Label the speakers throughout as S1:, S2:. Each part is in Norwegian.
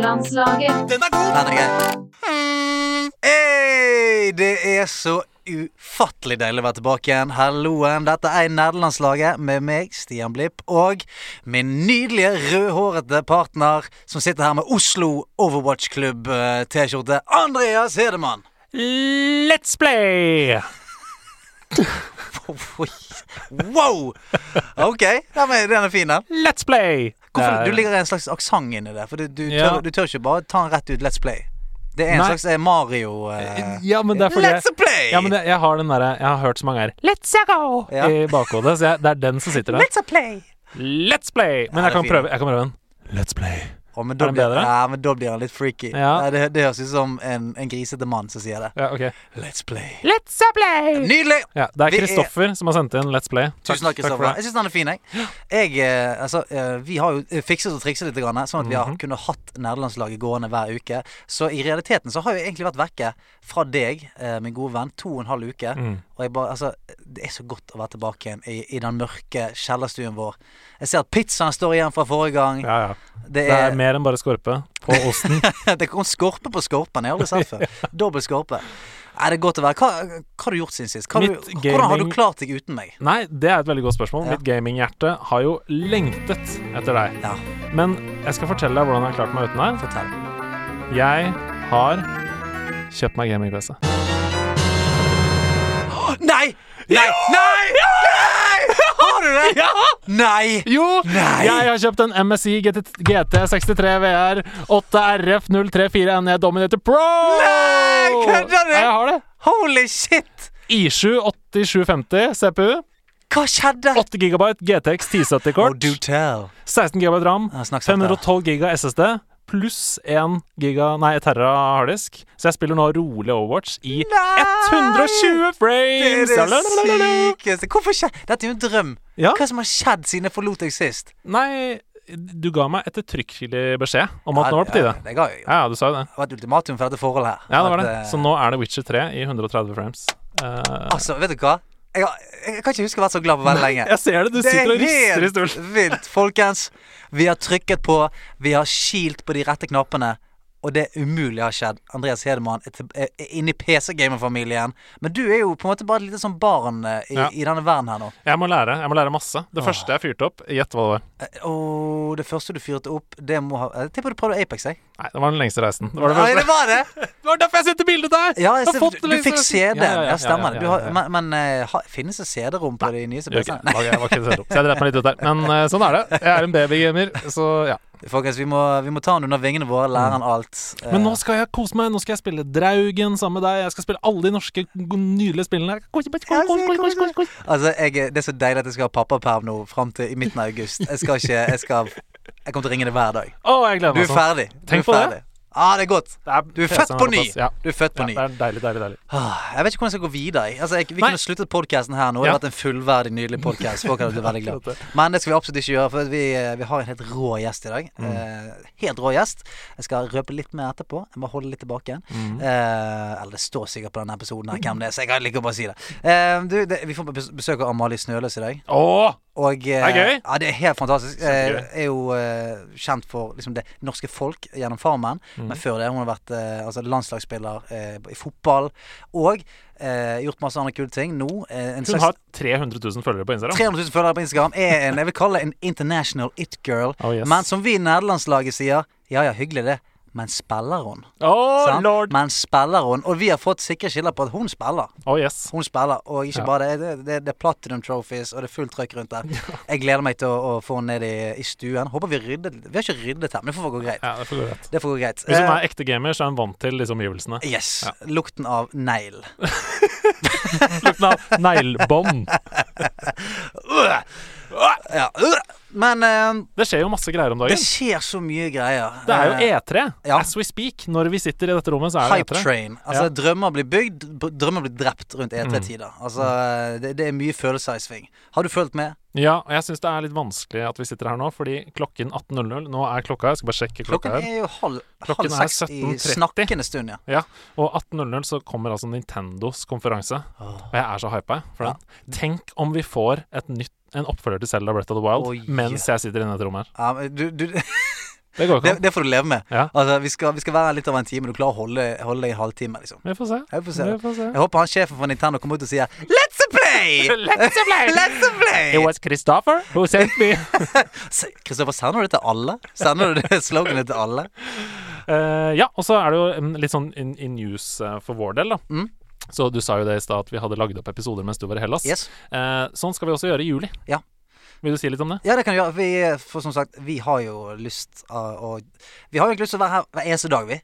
S1: Landslaget.
S2: Den er god!
S3: Nei, den er grei.
S2: Hey, det er så ufattelig deilig å være tilbake igjen. Halloen. Dette er Nerdelandslaget med meg, Stian Blipp, og min nydelige rødhårete partner som sitter her med Oslo eh, Overwatch-klubb-T-skjorte, Andreas Hedemann.
S4: Let's play!
S2: Wow! OK, ja, men den er fin, den.
S4: Let's play!
S2: Hvorfor,
S4: Det er-
S2: du ligger i en slags aksent inni det. For du, du, tør,
S4: Ja.
S2: du tør ikke bare ta den rett ut Let's Play. Det er en
S4: Nei.
S2: slags eh, Mario eh,
S4: Ja, men det er fordi
S2: Let's play!
S4: Ja, men jeg, jeg har den derre Jeg har hørt så mange her Let's go!
S2: Ja.
S4: I bakhodet. Så jeg, det er den som sitter der.
S2: Let's play!
S4: Let's play! Men
S2: Ja, det er
S4: jeg kan
S2: fint.
S4: prøve, jeg kan prøve den. Let's play.
S2: Å, men da
S4: Er den
S2: blir-
S4: bedre?
S2: Ja, men da blir han litt freaky.
S4: Ja.
S2: Nei, Det, det høres ut som en, en grisete mann som sier det.
S4: Ja, ok.
S2: Let's play.
S4: Let's play!
S2: Nydelig!
S4: Ja, det er
S2: Det er-
S4: Kristoffer som har sendt inn Let's play.
S2: Tusen takk,
S4: for
S2: Kristoffer. Jeg syns den er fin, jeg. jeg eh, altså, eh, vi har jo eh, fikset og trikset litt, grann, sånn at vi har kunne hatt nerdelandslaget gående hver uke. Så i realiteten så har jeg egentlig vært vekke fra deg, eh, min gode venn, to og en halv uke. Og jeg bare, altså, det er så godt å være tilbake igjen i, i den mørke kjellerstuen vår. Jeg ser at pizzaen står igjen fra forrige gang.
S4: Ja, ja.
S2: Det
S4: Det
S2: er
S4: er mer enn bare skorpe på osten.
S2: det kom skorpe på skorpen. Jeg har aldri sett før. Dobbel skorpe. Nei, det er godt å være. Hva, hva har du gjort siden sist? Hva har du,
S4: Mitt
S2: hvordan har du
S4: gaming-
S2: klart deg uten meg?
S4: Nei, det er et veldig godt spørsmål.
S2: Ja.
S4: Mitt gaminghjerte har jo lengtet etter deg.
S2: Ja,
S4: Men jeg skal fortelle deg hvordan jeg har klart meg uten deg.
S2: fortell.
S4: Jeg har kjøpt meg gaming-PC.
S2: Å,
S4: Ah,
S2: Nei! Nei! Nei! Nei! Har du det? Nei!
S4: Jo!
S2: Nei!
S4: Jeg har kjøpt en MSI GT, GT 63 VR 8 RF 034 NE E, Dominator Pro!
S2: Nei, kødder du?
S4: Ja, Jeg har det.
S2: Holy shit!
S4: I7 8750 CPU.
S2: Hva skjedde? Oh,
S4: 8 GB GTX 1070-kort.
S2: tell.
S4: 16 GB ram.
S2: Ja, snakk sakte.
S4: 512 GB SSD. Pluss 1 giga, nei, Terra harddisk. Så jeg spiller nå rolig Overwatch i 120
S2: Det er
S4: frames!
S2: det
S4: Lalalala.
S2: sykeste. Hvorfor skjedde Dette er jo en drøm.
S4: Ja.
S2: Hva som har skjedd siden jeg forlot deg sist?
S4: Nei, du ga meg ettertrykkelig beskjed om at nå var det på
S2: Ja,
S4: tide.
S2: Det ga jo
S4: Ja, ja, du sa jo det.
S2: det var et ultimatum for dette forholdet her.
S4: Ja, det var
S2: At,
S4: det. Sånn-
S2: eh,
S4: Så nå er det Witcher 3 i 130 frames. Eh,
S2: Altså, vet du hva? Jeg, har- jeg kan ikke huske å ha vært så glad på veldig lenge.
S4: jeg ser det, du
S2: Det er
S4: sitter og rister i
S2: helt
S4: stolen.
S2: vilt, folkens. Vi har trykket på, vi har kilt på de rette knappene, og det umulige har skjedd. Andreas Hedemann er, til- er er inne i PC-gamer-familien, men du er jo på en måte bare et lite sånn barn eh, i,
S4: Ja.
S2: i denne verden her nå.
S4: Jeg må lære jeg må lære masse. Det første jeg fyrte opp, gjett hva det var.
S2: Eh, Og det første du fyrte opp, det må ha eh, Jeg tipper du prøvde Apex, jeg.
S4: Nei, det var den lengste reisen. Det var, det
S2: Nei,
S4: første.
S2: det var det!
S4: Det var derfor jeg sendte bildet der!
S2: Ja, jeg
S4: Jeg har
S2: ser,
S4: fått
S2: du,
S4: det
S2: du
S4: liksom.
S2: fikk CD-en.
S4: Ja, ja, ja,
S2: Ja, stemmer
S4: ja,
S2: det.
S4: ja,
S2: Du har-
S4: ja.
S2: Men, men eh, ha- finnes det CD-rom på de nyeste
S4: Gjør ikke
S2: PC-ene?
S4: det. Var- jeg var ikke til å sende opp. Så jeg drepte meg litt ut der. Men eh, sånn er det. Jeg er en babygamer, så ja.
S2: Folkens, vi må, vi må ta han under vingene våre, lære han alt. Eh,
S4: Mm. Men nå skal jeg kose meg. Nå skal jeg spille Draugen sammen med deg. Jeg skal spille alle de norske g- nydelige spillene. Kos, kos, kos, kos, kos, kos, kos, kos.
S2: Altså, jeg, er- Det er så deilig at jeg skal ha pappaperm nå fram til i midten av august. Jeg skal ikke Jeg skal Jeg kommer til å ringe deg hver dag.
S4: Å, jeg gleder
S2: Du
S4: meg
S2: er
S4: sånn.
S2: ferdig. Du er
S4: Tenk på det.
S2: ferdig. Ja, det er godt.
S4: Det er
S2: Du er
S4: PC-en
S2: født på ny.
S4: såpass. Ja.
S2: Du er født på
S4: Ja,
S2: ny.
S4: det er deilig, deilig, deilig.
S2: Ah, Jeg vet ikke hvordan jeg skal gå videre. jeg. Altså, jeg, vi
S4: Nei.
S2: kunne sluttet podkasten her nå. Det
S4: Ja.
S2: hadde vært en fullverdig, nydelig podkast. Folk hadde blitt veldig glad. Men det skal vi absolutt ikke gjøre, for vi, eh, vi har en helt rå gjest i dag.
S4: Mm.
S2: Eh, helt rå gjest. Jeg skal røpe litt mer etterpå. Jeg må holde litt tilbake igjen.
S4: Mm.
S2: Eh, eller det står sikkert på denne episoden her hvem det er, så jeg kan like å bare si det. Eh, du, det vi får bes- besøk av Amalie Snøløs i dag.
S4: Åh!
S2: Og, eh,
S4: Det er gøy.
S2: Ja, det er helt fantastisk.
S4: Kjempegøy.
S2: Eh, er jo eh, kjent for liksom, det norske folk gjennom Farmen.
S4: Mm.
S2: Men før det hun har vært eh, altså, landslagsspiller eh, i fotball og eh, gjort masse andre kule ting. Nå eh, en
S4: Hun
S2: slags
S4: har 300 000 følgere på Instagram.
S2: 300 000 følgere på Instagram er en jeg vil kalle en international it-girl.
S4: Oh, yes.
S2: Men som vi i nederlandslaget sier, ja ja, hyggelig det, men spiller hun?
S4: Åh,
S2: Sant?
S4: lord!
S2: Men spiller hun? Og vi har fått sikre skiller på at hun spiller.
S4: Åh, Oh, yes.
S2: Hun spiller, og ikke
S4: Ja.
S2: bare det, det, det, det er platinum trophies, og det er fullt trøkk rundt der. Jeg gleder meg til å, å få henne ned i, i stuen. Håper vi ryddet Vi har ikke ryddet her, men det får gå greit.
S4: Ja, det får gå greit.
S2: Det får gå greit.
S4: Hvis hun
S2: Eh,
S4: er ekte gamer, så er hun vant til disse omgivelsene.
S2: yes.
S4: Ja.
S2: Lukten av negl.
S4: Lukten av neglebånd. Øh!
S2: Ja. øh. Men eh,
S4: Det skjer jo masse greier om
S2: det
S4: dagen.
S2: skjer så mye greier.
S4: Det er jo E3.
S2: ja.
S4: As we speak. Når vi sitter i dette rommet, så er det E
S2: Hype
S4: E3.
S2: train. Altså,
S4: Ja. Mm.
S2: Drømmer blir bygd, b- drømmer blir drept rundt E3-tider. Altså, det, det er mye følelser i sving. Har du fulgt med?
S4: Ja, og jeg syns det er litt vanskelig at vi sitter her nå, fordi klokken 18.00 Nå er klokka, jeg skal bare sjekke klokka
S2: Klokken
S4: her.
S2: er jo halv,
S4: Klokken
S2: halv
S4: er
S2: seks i
S4: 17.30.
S2: snakkende stund, ja.
S4: Ja, Og 18.00 så kommer altså Nintendos konferanse. Og jeg er så hypa for den. Tenk om vi får et nytt, en oppfølger til Zelda Breath of the Wild
S2: Oi.
S4: mens jeg sitter inne i dette rommet her.
S2: Ja, men du, du
S4: Det går ikke
S2: Det,
S4: an.
S2: det får du leve med.
S4: Ja.
S2: Altså, vi skal, vi skal være litt over en time. Du klarer å holde, holde deg en halvtime, liksom.
S4: Vi får se.
S2: Jeg får se.
S4: Vi får se.
S2: Jeg håper han sjefen for Nintendo kommer ut og sier Let's a play!
S4: Let's a play!
S2: Let's a play!
S4: It was Christopher who sent me.
S2: Se- Kristoffer, sender du det til alle? Sender du det sloganet til alle?
S4: Eh, ja, og så er det jo mm, litt sånn in, in news eh, for vår del, da.
S2: Mm.
S4: Så du sa jo det i stad at vi hadde lagd opp episoder mens du var i Hellas.
S2: Yes.
S4: Eh, sånn skal vi også gjøre i juli.
S2: Ja.
S4: Vil du si litt om det?
S2: Ja, det kan du gjøre. Vi, eh, for som sagt, vi har jo lyst av å Vi har jo egentlig lyst til å være her hver eneste dag, vi.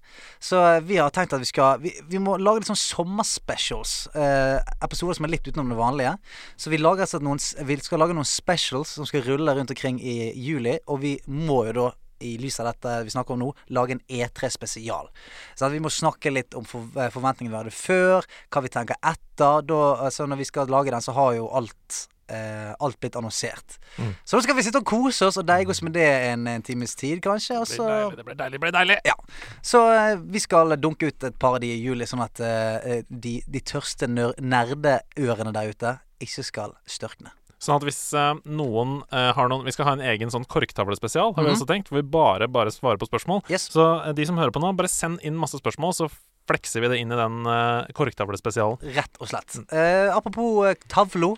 S2: Så eh, vi har tenkt at vi skal Vi, vi må lage litt sånn sommerspecials. Eh, episoder som er litt utenom det vanlige. Så vi, lager, rett og slett noen, s- vi skal lage noen specials som skal rulle rundt omkring i juli, og vi må jo da i lys av dette vi snakker om nå, lage en E3-spesial. Så at Vi må snakke litt om for, eh, forventningene vi hadde før, hva vi tenker etter. Da, altså når vi skal lage den, så har jo alt, eh, alt blitt annonsert. Så nå skal vi sitte og kose oss og deige oss med det en, en times tid, kanskje. Og
S4: Det
S2: så,
S4: ble deilig, det ble deilig, det ble deilig.
S2: ja. så eh, vi skal dunke ut et par av de i juli, sånn at eh, de, de tørste nør nerdeørene der ute ikke skal størkne.
S4: Sånn at hvis eh, noen eh, har noen Vi skal ha en egen sånn korktavlespesial, har vi
S2: Mhm.
S4: også tenkt, hvor vi bare, bare svarer på spørsmål.
S2: Yes.
S4: Så eh, de som hører på nå, bare send inn masse spørsmål, så flekser vi det inn i den eh, korktavlespesialen.
S2: Rett og slett. Eh, apropos eh, tavlo.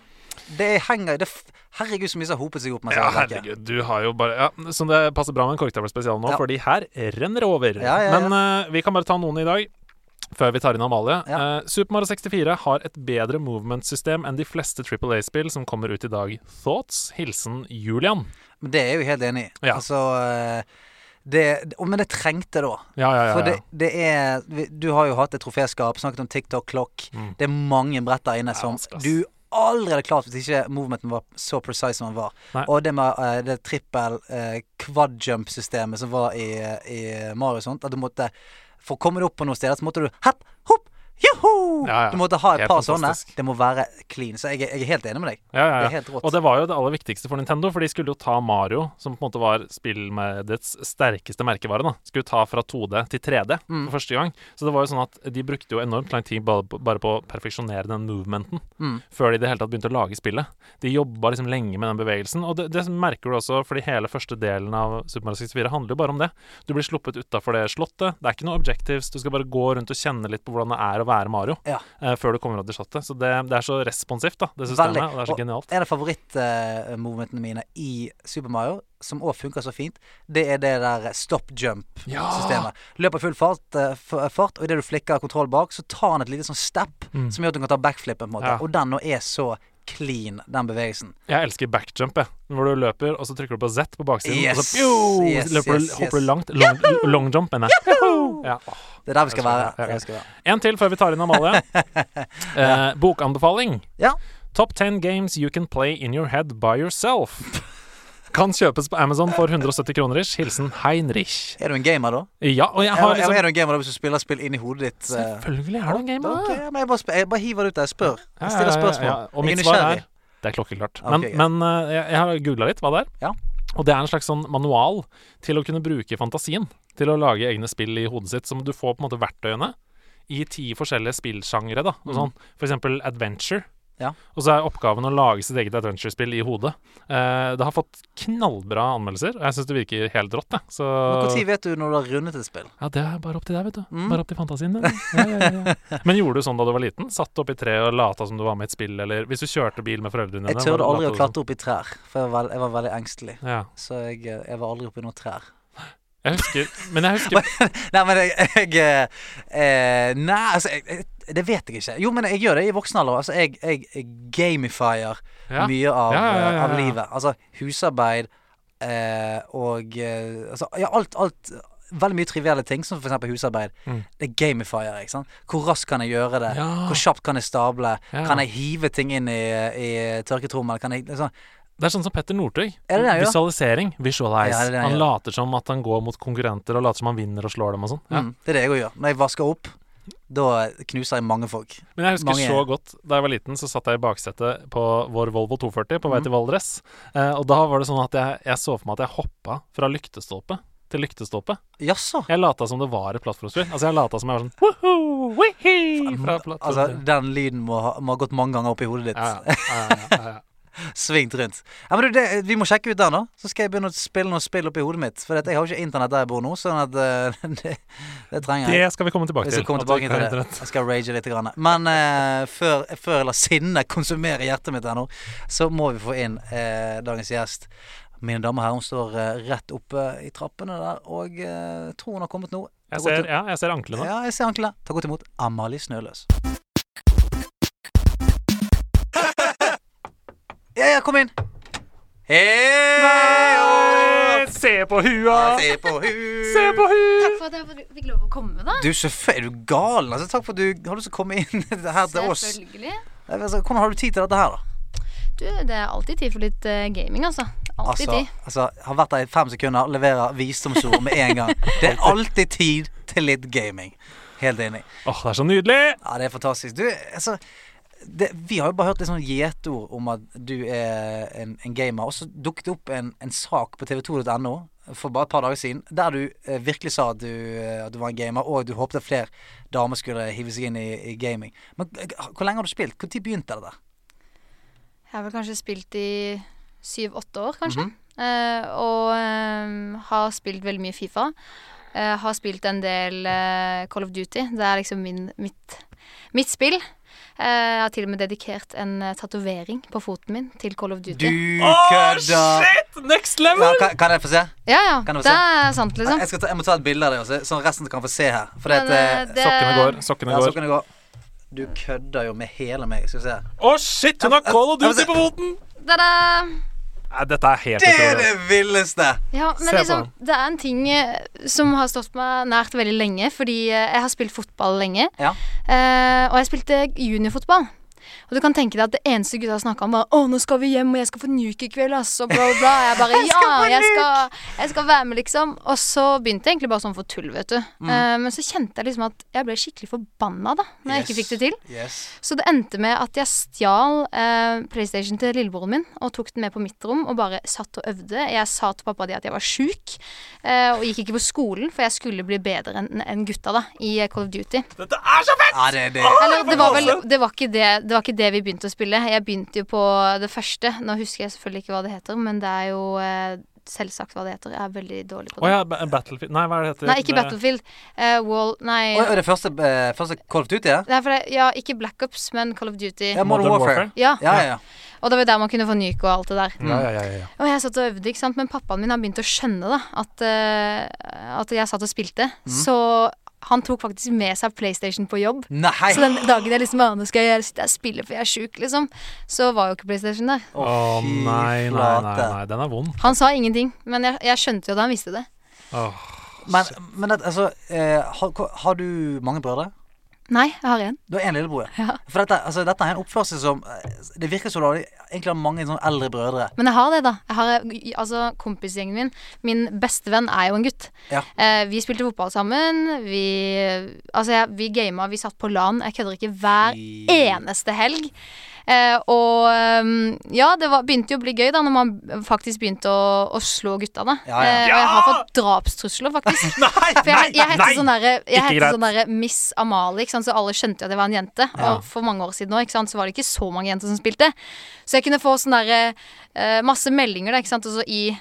S2: Det henger det f Herregud, så mye som har hopet seg opp. mens Altså, jeg
S4: Ja,
S2: har vært vekke.
S4: herregud, du har jo bare ja, Så det passer bra med en korktavlespesial nå,
S2: Ja.
S4: fordi her renner det over.
S2: Ja, ja, ja.
S4: Men eh, vi kan bare ta noen i dag. Før vi tar inn Amalie.
S2: Ja.
S4: Eh, Super Mario 64 har et bedre movement-system enn de fleste Triple A-spill som kommer ut i dag. Thoughts? Hilsen Julian.
S2: Men det er jeg jo helt enig i.
S4: Ja.
S2: Altså eh, det, og- men det trengte da.
S4: Ja, ja, ja.
S2: For
S4: ja.
S2: det, det er vi- Du har jo hatt et troféskap, snakket om TikTok-klokk.
S4: Mm.
S2: Det er mange brett der inne som
S4: vanskelig, ass.
S2: du aldri hadde klart hvis ikke movementen var så precise som den var.
S4: Nei.
S2: Og det med eh, det trippel eh, quad jump-systemet som var i, i Mario og sånt, at du måtte For å komme deg opp på noen steder, så måtte du hepp, hopp, joho!
S4: Ja, ja.
S2: Du måtte ha et
S4: Helt
S2: par
S4: fantastisk.
S2: sånne. Det må være clean. Så jeg, er- jeg er helt enig med deg.
S4: Ja, ja,
S2: Det
S4: ja.
S2: er helt rått.
S4: Og det var jo det aller viktigste for Nintendo, for de skulle jo ta Mario, som på en måte var spillmediets sterkeste merkevare, da. Skulle ta fra 2D til 3D
S2: Mm.
S4: for første gang. Så det var jo sånn at de brukte jo enormt lang tid bare på- bare på å perfeksjonere den movementen,
S2: Mm.
S4: før de i det hele tatt begynte å lage spillet. De jobba liksom lenge med den bevegelsen, og det, det merker du også, fordi hele første delen av Super Mario 64 handler jo bare om det. Du blir sluppet utafor det slottet, det er ikke noe objectives, du skal bare gå rundt og kjenne litt på hvordan det er å være Mario,
S2: Ja.
S4: eh, før du kommer av det slottet. Så det, det er så responsivt, da, det systemet,
S2: Veldig.
S4: og det er så
S2: Og-
S4: genialt.
S2: En av favorittmomentene mine i Super Mario, som òg funker så fint, det er det der stop jump-systemet. Løper full fart, eh, f- fart og idet du flikker kontroll bak, så tar han et lite sånn step
S4: Mm.
S2: som gjør at du kan ta backflippen, på en måte.
S4: Ja.
S2: Og den nå er så clean, den bevegelsen.
S4: Jeg elsker backjump, jeg. Hvor du løper, og så trykker du på Z på baksiden, og
S2: Yes,
S4: så pjo,
S2: yes,
S4: løper, du-
S2: yes,
S4: hopper du
S2: yes.
S4: langt. Long, longjump, mener jeg. Joho! Ja.
S2: Det er der vi skal
S4: Jeg
S2: være.
S4: elsker det.
S2: Jeg elsker det.
S4: En til før vi tar inn Amalie. Eh, bokanbefaling.
S2: Ja.
S4: Top 10 games you can play in your head by yourself. Kan kjøpes på Amazon for 170 kroner ish. Hilsen Heinrich.
S2: Er du en gamer, da?
S4: Ja, og jeg
S2: Er,
S4: har
S2: er
S4: liksom
S2: du en gamer da hvis du spiller spill inni hodet ditt? eh?
S4: Selvfølgelig er du en gamer.
S2: Ok,
S4: da.
S2: men jeg bare, sp- jeg bare hiver det ut der. Jeg spør.
S4: Ja,
S2: Jeg stiller
S4: ja, ja,
S2: spørsmål.
S4: ja. Og
S2: Jeg er
S4: mitt svar
S2: nysgjerrig.
S4: er Det er klokkeklart.
S2: Ok,
S4: Men,
S2: greit.
S4: men eh, jeg, jeg har googla litt hva det er.
S2: Ja.
S4: Og det er en slags sånn manual til å kunne bruke fantasien til å lage egne spill i hodet sitt. Som du får på en måte verktøyene i ti forskjellige spillsjangre. da og sånn. For eksempel adventure.
S2: Mm. Ja.
S4: Og så er oppgaven å lage sitt eget adventure-spill i hodet. Eh, det har fått knallbra anmeldelser. Og jeg syns det virker helt rått. Jeg. Så
S2: Men Når vet du når du har rundet et spill?
S4: ja, det er bare opp til deg, vet du.
S2: Mm.
S4: Bare opp til fantasien din. Ja, ja, ja, ja. Men gjorde du sånn da du var liten? Satt opp i tre og lata som du var med i et spill, eller hvis du kjørte bil med foreldrene dine?
S2: Jeg turde
S4: var-
S2: aldri å
S4: lata du
S2: klatre opp i trær, for jeg var, jeg var veldig engstelig.
S4: som- Ja.
S2: Så jeg, eh, jeg var aldri oppi noen trær.
S4: Jeg husker Men jeg husker
S2: Nei, men jeg, jeg eh, Nei, altså jeg, jeg, Det vet jeg ikke. Jo, men jeg gjør det i voksen alder. Altså, jeg, jeg gamifier
S4: ja.
S2: mye av,
S4: Ja, ja, ja, ja,
S2: av
S4: ja.
S2: livet. Altså husarbeid eh, og eh, Altså ja, alt, alt Veldig mye trivielle ting, som f.eks. husarbeid.
S4: Mm.
S2: Det gamifier jeg. ikke sant? Hvor raskt kan jeg gjøre det?
S4: Ja.
S2: Hvor kjapt kan jeg stable?
S4: Ja.
S2: Kan jeg hive ting inn i, i tørketrommelen? Kan jeg liksom
S4: Det er sånn som Petter Northug.
S2: Er det det han gjør?
S4: Visualisering. Visualize.
S2: Ja, det er det han
S4: han
S2: gjør.
S4: later som at han går mot konkurrenter, og later som han vinner og slår dem og sånn. Ja.
S2: Mm, det er det jeg òg gjør. Når jeg vasker opp, da knuser jeg mange folk.
S4: Men jeg husker
S2: Mange-
S4: så godt da jeg var liten, så satt jeg i baksetet på vår Volvo 240 på vei
S2: Mhm.
S4: til Valdres. Eh, og da var det sånn at jeg, jeg så for meg at jeg hoppa fra lyktestolpe til lyktestolpe.
S2: Jaså?
S4: Jeg lata som det var et plattformspill. Altså, jeg lata som jeg var sånn Woohoo, wihi, fra
S2: Altså,
S4: plattformspill.
S2: den lyden må ha, må ha gått mange ganger opp i hodet ditt.
S4: ja, ja, ja, ja, ja, ja.
S2: Svingt rundt. Ja, men du, det, vi må sjekke ut den, da. Så skal jeg begynne å spille noen spill oppi hodet mitt. For at jeg har jo ikke internett der jeg bor nå, sånn at eh, det, det trenger jeg.
S4: Det skal vi komme tilbake
S2: Jeg
S4: til.
S2: skal komme
S4: at du
S2: tilbake
S4: ikke har
S2: til det.
S4: internett.
S2: Jeg skal rage litt. Grann. Men eh, før, før jeg lar sinnet konsumere hjertet mitt her nå, så må vi få inn eh, dagens gjest. Mine damer og herrer, hun står eh, rett oppe i trappene der, og eh, tror hun har kommet nå.
S4: Jeg
S2: Ta godt
S4: ser, ja, jeg ser anklene.
S2: Ja, jeg ser anklene. Ta godt imot Amalie Snøløs. Ja, ja, kom inn. Hei!
S4: Nei, Se på hua!
S2: Se på hun.
S4: Se på hua!
S1: Takk for at jeg fikk lov å komme, da.
S2: Du, selvfølgelig. Er du gal? Altså, takk for at du har lyst til å komme inn her til oss.
S1: Selvfølgelig.
S2: Jeg vet ikke, Hvordan har du tid til dette her, da?
S1: Du, det er alltid tid for litt eh, gaming, altså. Alltid
S2: Altså,
S1: tid.
S2: altså, har vært der i fem sekunder, leverer visdomsord med en gang. Det er alltid tid til litt gaming. Helt enig.
S4: Åh, det er så nydelig!
S2: Ja, det er fantastisk. Du, altså det, Vi har jo bare hørt litt sånn gjetord om at du er en, en gamer. Og så dukket det opp en, en sak på tv2.no for bare et par dager siden der du eh, virkelig sa at du, eh, at du var en gamer, og du håpte at flere damer skulle hive seg inn i, i gaming. Men eh, hvor lenge har du spilt? Når begynte det der?
S1: Jeg har vel kanskje spilt i syv-åtte år, kanskje.
S2: Mhm.
S1: Eh, og eh, har spilt veldig mye Fifa. Eh, har spilt en del eh, Call of Duty. Det er liksom min, mitt, mitt spill. Eh, jeg har til og med dedikert en uh, tatovering på foten min til Call of Duty.
S2: Du
S4: Åh,
S2: kødder!
S4: shit! Next
S2: Ja,
S4: level!
S2: kan, kan jeg få se?
S1: Ja, ja.
S2: Kan du
S1: Det er sant, liksom.
S2: Jeg, skal ta, jeg må ta et bilde av deg, også, sånn resten kan få se her. For det,
S1: Men, eh,
S2: at, eh,
S1: det-
S4: Sokkene går. sokkene
S2: ja, så
S4: går
S2: kan det gå. Du kødder jo med hele meg. Skal vi se.
S4: Å, shit! Hun har Call of Duty på foten!
S1: Ta-da!
S4: Nei, dette er helt
S2: Det er
S4: utrolig.
S2: det villeste!
S1: Ja,
S4: Se
S1: men
S4: på
S1: liksom, det er en ting eh, som har stått meg nært veldig lenge, fordi eh, jeg har spilt fotball lenge.
S2: Ja.
S1: Eh, og jeg spilte juniorfotball. Og du kan tenke deg at det eneste gutta snakka om, var 'Å, nå skal vi hjem, og jeg skal få nuke i kveld', ass, og bla, bla, bla. Jeg bare 'Ja, jeg skal, jeg skal være med', liksom. Og så begynte jeg egentlig bare sånn for tull, vet du. Eh, men så kjente jeg liksom at jeg ble skikkelig forbanna, da, når jeg ikke fikk det til.
S2: Yes.
S1: Så det endte med at jeg stjal eh, PlayStation til lillebroren min og tok den med på mitt rom og bare satt og øvde. Jeg sa til pappa de at jeg var sjuk eh, og gikk ikke på skolen, for jeg skulle bli bedre enn enn gutta da i eh, Call of Duty.
S4: Dette er så fett!
S2: Ja, det, det.
S1: Eller det var vel det var, ikke det, det var ikke det vi begynte å spille. Jeg begynte jo på det første. Nå husker jeg selvfølgelig ikke hva det heter, men det er jo eh, selvsagt hva det heter. Jeg er veldig dårlig på
S4: Å
S1: det.
S4: ja, ba- Battlefield Nei, hva er det heter?
S1: Nei, ikke
S4: Det-
S1: Battlefield. Eh, Wall Nei.
S2: Oi, er det første, eh, første Call of Duty? Ja,
S1: Det er for det, ja, ikke Black Ops, men Call of Duty.
S2: ja Modern Warfare.
S1: Ja.
S2: Ja, ja, ja.
S1: Og det var jo der man kunne få nyk og alt det der.
S4: Ja, ja, ja, ja, ja.
S1: Og jeg satt og øvde, ikke sant? men pappaen min har begynt å skjønne da, at, eh, at jeg satt og spilte. Så han tok faktisk med seg PlayStation på jobb.
S2: Nei!
S1: Så den dagen jeg liksom «Ah, nå skal jeg sitte her og spille, for jeg er sjuk, liksom, så var jo ikke PlayStation der.
S4: Å nei, nei, nei, nei, den er vond.
S1: Han sa ingenting, men jeg, jeg skjønte jo da han visste det.
S4: Åh.
S2: Men, men at, altså, eh, har, hvor- har du mange brødre?
S1: Nei, jeg har en.
S2: Du har én lillebror.
S1: Ja.
S2: For dette, altså, dette er en oppførsel som eh, Det virker som du har egentlig har mange sånne eldre brødre.
S1: Men jeg har det, da. Jeg har, altså, kompisgjengen min Min bestevenn er jo en gutt.
S2: Ja.
S1: Eh, vi spilte fotball sammen. Vi, altså, jeg, vi gama, vi satt på LAN. Jeg kødder ikke. Hver
S2: Fy.
S1: eneste helg. Eh, og ehm, ja, det var, begynte jo å bli gøy da når man faktisk begynte å, å slå gutta, da.
S2: Ja, ja.
S1: Eh, og jeg har
S4: Ja!
S1: fått drapstrusler, faktisk.
S4: Nei,
S1: For jeg, jeg heter sånn derre jeg
S4: Ikke
S1: heter
S4: greit.
S1: sånn derre Miss Amalie, ikke sant? så alle skjønte jo at jeg var en jente.
S4: Ja.
S1: Og for mange år siden også, ikke sant? så var det ikke så mange jenter som spilte. Så jeg kunne få sånn derre eh, masse meldinger, da, ikke sant, og så i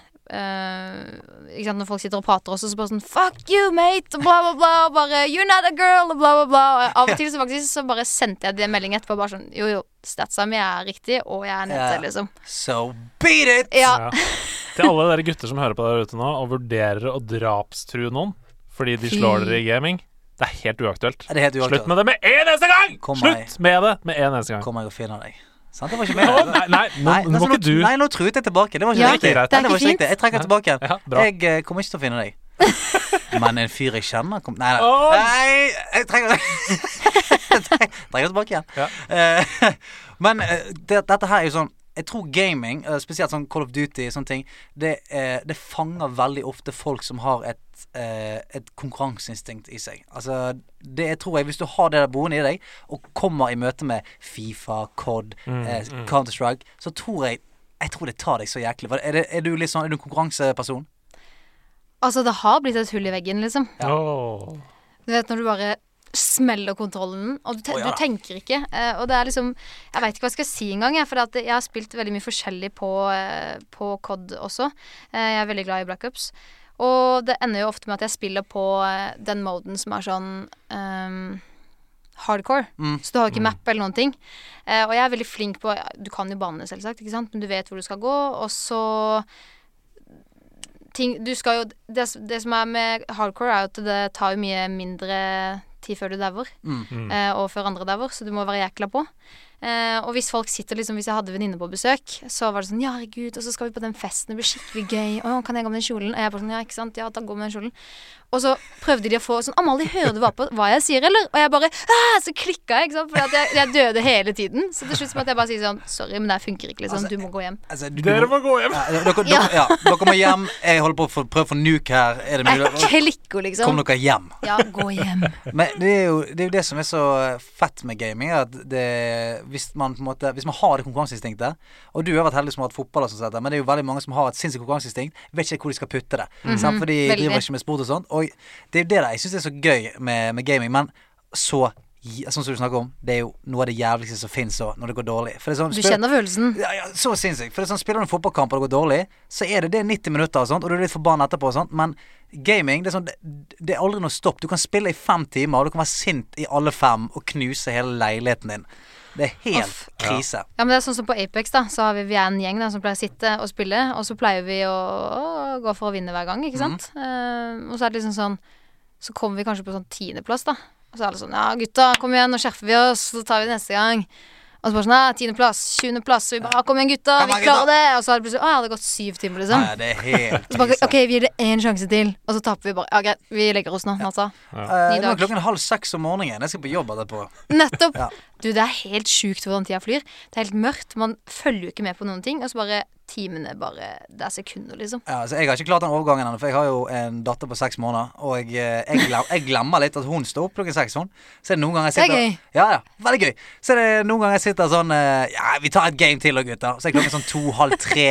S1: eh, ikke sant, Når folk sitter og prater også, så bare sånn Fuck you, mate! Og bla, bla, bla. Og bare You're not a girl! Og bla, bla, bla. Og av og til så faktisk så bare sendte jeg de en melding etterpå, bare sånn Jo, jo, statsa mi er riktig, og jeg er en jente,
S2: Ja.
S1: liksom.
S2: So beat it!
S1: Ja.
S4: Ja. Til alle dere gutter som hører på der ute nå og vurderer å drapstrue noen fordi de slår dere i gaming, det er helt uaktuelt.
S2: Er det helt
S4: Slutt
S2: uaktuelt?
S4: med det med en eneste gang!
S2: Kom,
S4: Slutt med det med en eneste gang.
S2: Kommer jeg og finner deg. Sant? Det var ikke
S4: Å,
S2: meningen.
S4: Nei, nei, nå
S2: Nei,
S4: nå må
S2: altså,
S4: ikke du
S2: Nei, nå truet jeg tilbake. Det var ikke
S1: Ja,
S2: riktig.
S4: det er ikke
S2: Nei, det var ikke
S1: fint.
S2: riktig. Jeg trekker tilbake.
S4: Ja, bra.
S2: Jeg eh, kommer ikke til å finne deg. Men en fyr jeg kjenner kom... Nei, nei.
S4: Åh!
S2: nei jeg trenger Jeg trenger trenger tilbake igjen.
S4: Ja.
S2: Eh, men eh, det, dette her er jo sånn jeg tror gaming, eh, spesielt sånn Call of Duty og sånne ting, det, eh, det fanger veldig ofte folk som har et, eh, et konkurranseinstinkt i seg. Altså, det jeg tror jeg, hvis du har det der boende i deg, og kommer i møte med Fifa, COD,
S4: Mm,
S2: eh, Counter-Strike, så tror jeg Jeg tror det tar deg så jæklig. Hva- Er, det, er du litt sånn, er du en konkurranseperson?
S1: Altså, det har blitt et hull i veggen, liksom.
S4: Åh.
S1: Du vet når du bare smeller kontrollen, og du, te
S2: Å, ja.
S1: du tenker ikke. Eh, og det er liksom Jeg veit ikke hva jeg skal si engang, jeg. For at jeg har spilt veldig mye forskjellig på, eh, på COD også. Eh, jeg er veldig glad i Black Ops. Og det ender jo ofte med at jeg spiller på eh, den moden som er sånn ehm, hardcore.
S2: Mm.
S1: Så du har jo ikke map eller noen ting. Eh, og jeg er veldig flink på Du kan jo banne, selvsagt, ikke sant? men du vet hvor du skal gå, og så ting, du skal jo, det, det som er med hardcore, er jo at det tar jo mye mindre tid før du dauer,
S2: Mm.
S1: eh, og før andre dauer, så du må være jækla på. Eh, og hvis folk sitter liksom, hvis jeg hadde venninne på besøk, så var det sånn Ja, herregud, og så skal vi på den festen, det blir skikkelig gøy. Å, kan jeg gå med den kjolen? Og jeg bare sånn Ja, ikke sant? Ja, da går vi med den kjolen. Og så prøvde de å få sånn Amalie, hører du hva, på, hva jeg sier, eller? Og jeg bare ah, Så klikka jeg, ikke sant? For jeg, jeg døde hele tiden. Så til slutt så måtte jeg bare si sånn Sorry, men det her funker ikke, liksom.
S2: Altså,
S1: Du må gå hjem.
S2: Altså, du-
S4: Dere må gå hjem!
S2: Ja, dere, dere,
S1: Ja.
S2: ja, dere må hjem. Jeg holder på å få- prøve å få nuke her. Er det
S1: Jeg
S2: mulig?
S1: klikker,
S2: Kom
S1: liksom.
S2: dere hjem.
S1: Ja, gå hjem.
S2: Men det er, jo, det er jo det som er så eh, fett med gaming, er at det, hvis man på en måte Hvis man har det konkurranseinstinktet Og du har vært heldig som har hatt fotball, og sånt, sett, men det er jo veldig mange som har et sinnssykt konkurranseinstinkt. Vet ikke hvor de skal putte det. sant? For de
S1: Mhm. veldig.
S2: driver ikke med sport og sånt. Og det er jo det der. jeg syns er så gøy med, med gaming. Men så gi- Sånn som du snakker om, det er jo noe av det jævligste som fins når det går dårlig. For det er sånn,
S1: Du
S2: spill-
S1: kjenner følelsen.
S2: ja, ja, så sinnssykt. For det er sånn, Spiller du en fotballkamp og det går dårlig, så er det det 90 minutter, og sånt Og du er litt forbanna etterpå. og sånt Men gaming det er, sånn, det, det er aldri noe stopp. Du kan spille i fem timer, og du kan være sint i alle fem og knuse hele leiligheten din. Det er helt
S1: Uff.
S2: krise.
S1: Ja, men det er sånn som på Apex, da. Så har vi, vi er en gjeng da, som pleier å sitte og spille, og så pleier vi å, å gå for å vinne hver gang, ikke sant?
S2: Mhm.
S1: Eh, og så er det liksom sånn Så kommer vi kanskje på sånn tiendeplass, da. Og så er det sånn Ja, gutta, kom igjen, nå skjerper vi oss, så tar vi det neste gang. Og så bare sånn Nei, tiendeplass, tjuendeplass. Så vi bare «Ja, Kom igjen, gutta,
S2: Kom
S1: vi
S2: igjen, gutta!»
S1: klarer det. Og så er det plutselig Å ja, det har gått syv timer,
S2: Nei,
S1: liksom.
S2: det er helt
S1: Så bare,
S2: krise.
S1: OK, vi gir det én sjanse til, og så taper vi bare. Ja, greit, vi legger oss nå, natta.
S2: Eh,
S1: ny
S2: nå
S1: dag.
S2: er klokken halv seks om morgenen. Jeg skal på jobb etterpå.
S1: Nettopp.
S2: Ja.
S1: Du, det er helt sjukt hvordan tida flyr. Det er helt mørkt. Man følger jo ikke med på noen ting. Og så bare timene bare Det er sekunder, liksom.
S2: Ja, altså, jeg har ikke klart den overgangen ennå, for jeg har jo en datter på seks måneder. Og jeg, eh, jeg, glem, jeg glemmer litt at hun står opp klokken seks. Sånn. Så er det noen ganger jeg
S1: Det er
S2: sitter
S1: gøy.
S2: Ja, ja, veldig gøy. Så er det noen ganger jeg sitter sånn eh, Ja, vi tar et game til da, gutter. Så er klokken sånn to-halv tre.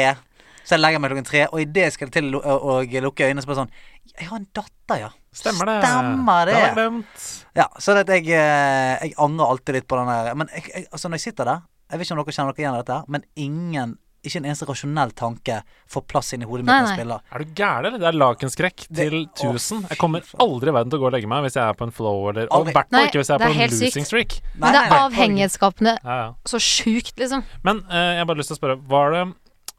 S2: Så jeg legger meg klokken tre, og idet jeg skal til å å- å lukke øynene, så bare sånn Jeg har en datter, ja.
S4: Stemmer det.
S2: Stemmer det.
S4: Det har jeg glemt.
S2: Ja, så det at jeg, eh, jeg angrer alltid litt på den der Men jeg, jeg, altså når jeg sitter der Jeg vet ikke om dere kjenner dere igjen i dette, her, men ingen ikke en eneste rasjonell tanke får plass inni hodet mitt
S1: Nei,
S2: når jeg
S1: nei.
S2: spiller.
S4: Er du gæren, eller? Det er lakenskrekk
S2: Det-
S4: til
S2: Å,
S4: 1000. Jeg
S2: fy
S4: kommer
S2: faen.
S4: aldri i verden til å gå og legge meg hvis jeg er på en flow eller Og
S2: Aldri.
S4: i hvert
S1: Nei,
S4: fall ikke hvis jeg
S1: det
S4: er
S1: er
S4: på en
S1: helt sykt.
S4: losing streak.
S1: Men det er
S2: nei.
S1: avhengighetsskapende
S4: Ja, ja.
S1: så sjukt, liksom.
S4: Men eh, jeg har bare lyst til å spørre, var det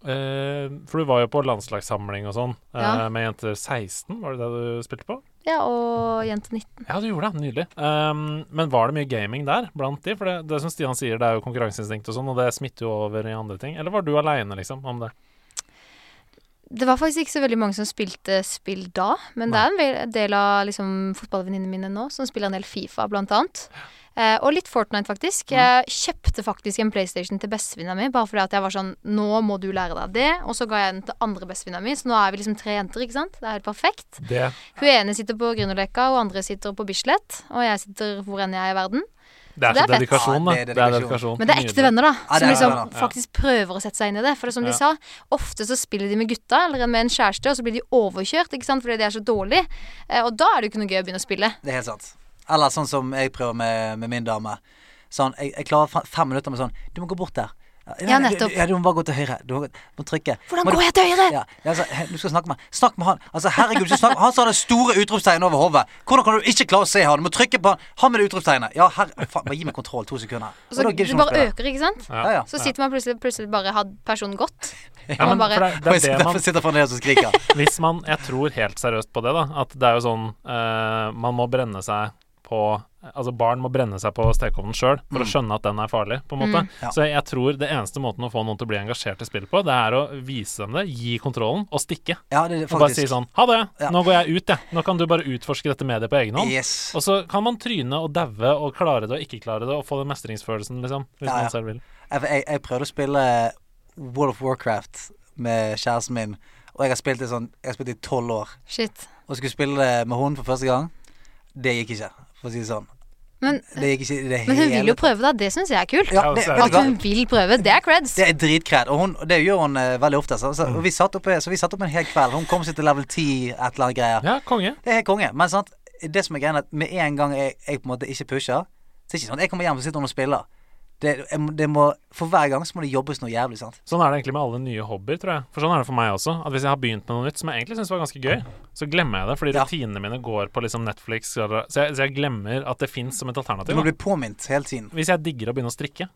S4: eh, For du var jo på landslagssamling og sånn eh,
S1: Ja.
S4: med jenter 16, var det det du spilte på?
S1: Ja, og jente 19.
S4: Ja, du gjorde det. Nydelig. Um, men var det mye gaming der blant de? For det, det som Stian sier, det er jo konkurranseinstinkt og sånn, og det smitter jo over i andre ting. Eller var du aleine, liksom, om det?
S1: Det var faktisk ikke så veldig mange som spilte spill da, men det er en vel- del av liksom, fotballvenninnene mine nå som spiller en del Fifa, blant annet. Eh, og litt Fortnite, faktisk. Jeg kjøpte faktisk en PlayStation til bestevenninna mi, bare fordi at jeg var sånn Nå må du lære deg det. Og så ga jeg den til andre bestevenninna mi, så nå er vi liksom tre jenter, ikke sant. Det er helt perfekt.
S4: Det
S1: Hun ene sitter på Grünerløkka, og andre sitter på Bislett. Og jeg sitter hvor enn jeg er i verden.
S4: Det er så
S1: Det er fett.
S4: dedikasjon, da.
S2: Ja, det er
S4: Det er
S2: dedikasjon.
S4: dedikasjon.
S1: Men det er ekte
S4: Nydelig.
S1: venner,
S2: Ja,
S1: da.
S2: det
S1: Som
S2: er
S1: liksom
S2: venner,
S4: ja.
S1: faktisk prøver å sette seg inn i det. For det er som
S4: Ja.
S1: de sa, ofte så spiller de med gutta eller med en kjæreste, og så blir de overkjørt ikke sant? fordi de er så dårlige. Eh, Og da er det jo ikke noe gøy å begynne å spille.
S2: Det er helt sant. Eller sånn som jeg prøver med, med min dame. Sånn, jeg, jeg klarer fe- fem minutter med sånn Du må gå bort der.
S1: Ja,
S2: nei, du-
S1: nettopp.
S2: du- Ja, du må bare gå til høyre. Du må, gå- må trykke.
S1: Hvordan
S2: må
S1: går jeg til høyre?
S2: ja, ja, altså, he- du skal snakke med Snakk med han. Altså, herregud, du snakker, han som hadde store utropstegn over hodet. Hvordan kan du ikke klare å se han? Du må trykke på han. Han med det utropstegnet. Ja, herre faen, Bare gi meg kontroll to sekunder.
S1: Og
S2: Og
S1: så
S2: da gidder
S1: det
S2: ikke man
S1: bare
S2: spille.
S1: øker, ikke sant.
S2: Ja, ja.
S1: Så sitter man plutselig, plutselig bare har personen gått.
S4: Ja, men,
S1: Man bare-
S4: for
S2: Og jeg
S4: det, det er
S2: sitter-
S4: det man
S2: Derfor sitter fremdeles og skriker.
S4: Hvis man Jeg tror helt seriøst på det, da. At det er jo sånn eh, Man må brenne seg på Altså barn må brenne seg på stekeovnen sjøl for å skjønne at den er farlig, på en måte.
S2: Mm. Ja.
S4: Så jeg, jeg tror det eneste måten å få noen til å bli engasjert i spill på, det er å vise dem det, gi kontrollen, og stikke.
S2: Ja, det er
S4: Og bare si
S2: faktisk
S4: sånn Ha det!
S2: Ja.
S4: Nå går jeg ut, jeg. Nå kan du bare utforske dette mediet på egen hånd.
S2: Yes.
S4: Og så kan man tryne og daue og klare det og ikke klare det og få den mestringsfølelsen, liksom. Hvis
S2: Ja, ja.
S4: man selv vil.
S2: Jeg, jeg, jeg prøvde å spille World of Warcraft med kjæresten min, og jeg har spilt det sånn Jeg har spilt det i tolv år.
S1: Shit.
S2: Og skulle spille det med hun for første gang. Det gikk ikke, for å si det sånn.
S1: Men,
S2: Det gikk ikke i det
S1: men hun
S2: hele
S1: vil jo
S2: tatt.
S1: prøve, da. Det syns jeg er kult.
S2: Ja, det,
S4: Ja,
S2: vet
S1: At
S2: du hva?
S1: hun vil prøve, det er creds.
S2: det er dritkred, og hun, det gjør hun eh, veldig ofte. Så, så, og vi satt oppe, så vi satt opp en hel kveld. Hun kom seg til level 10, et eller annet greier.
S4: Ja, konge.
S2: Det er helt konge. Men sant, det som er greia, er at med en gang jeg, jeg på en måte ikke pusher Så er det ikke sånn at jeg kommer hjem og sitter hun og spiller. Det, jeg, må- det må, for hver gang så må det jobbes noe jævlig, sant.
S4: Sånn er det egentlig med alle nye hobbyer, tror jeg. For sånn er det for meg også. At hvis jeg har begynt med noe nytt som jeg egentlig syns var ganske gøy, så glemmer jeg det. Fordi
S2: Ja.
S4: rutinene mine går på liksom Netflix, eller- så jeg, så jeg glemmer at det fins som et
S2: Du
S4: alternativ.
S2: må
S4: da.
S2: bli påminnet hele tiden.
S4: Hvis jeg digger å begynne å strikke,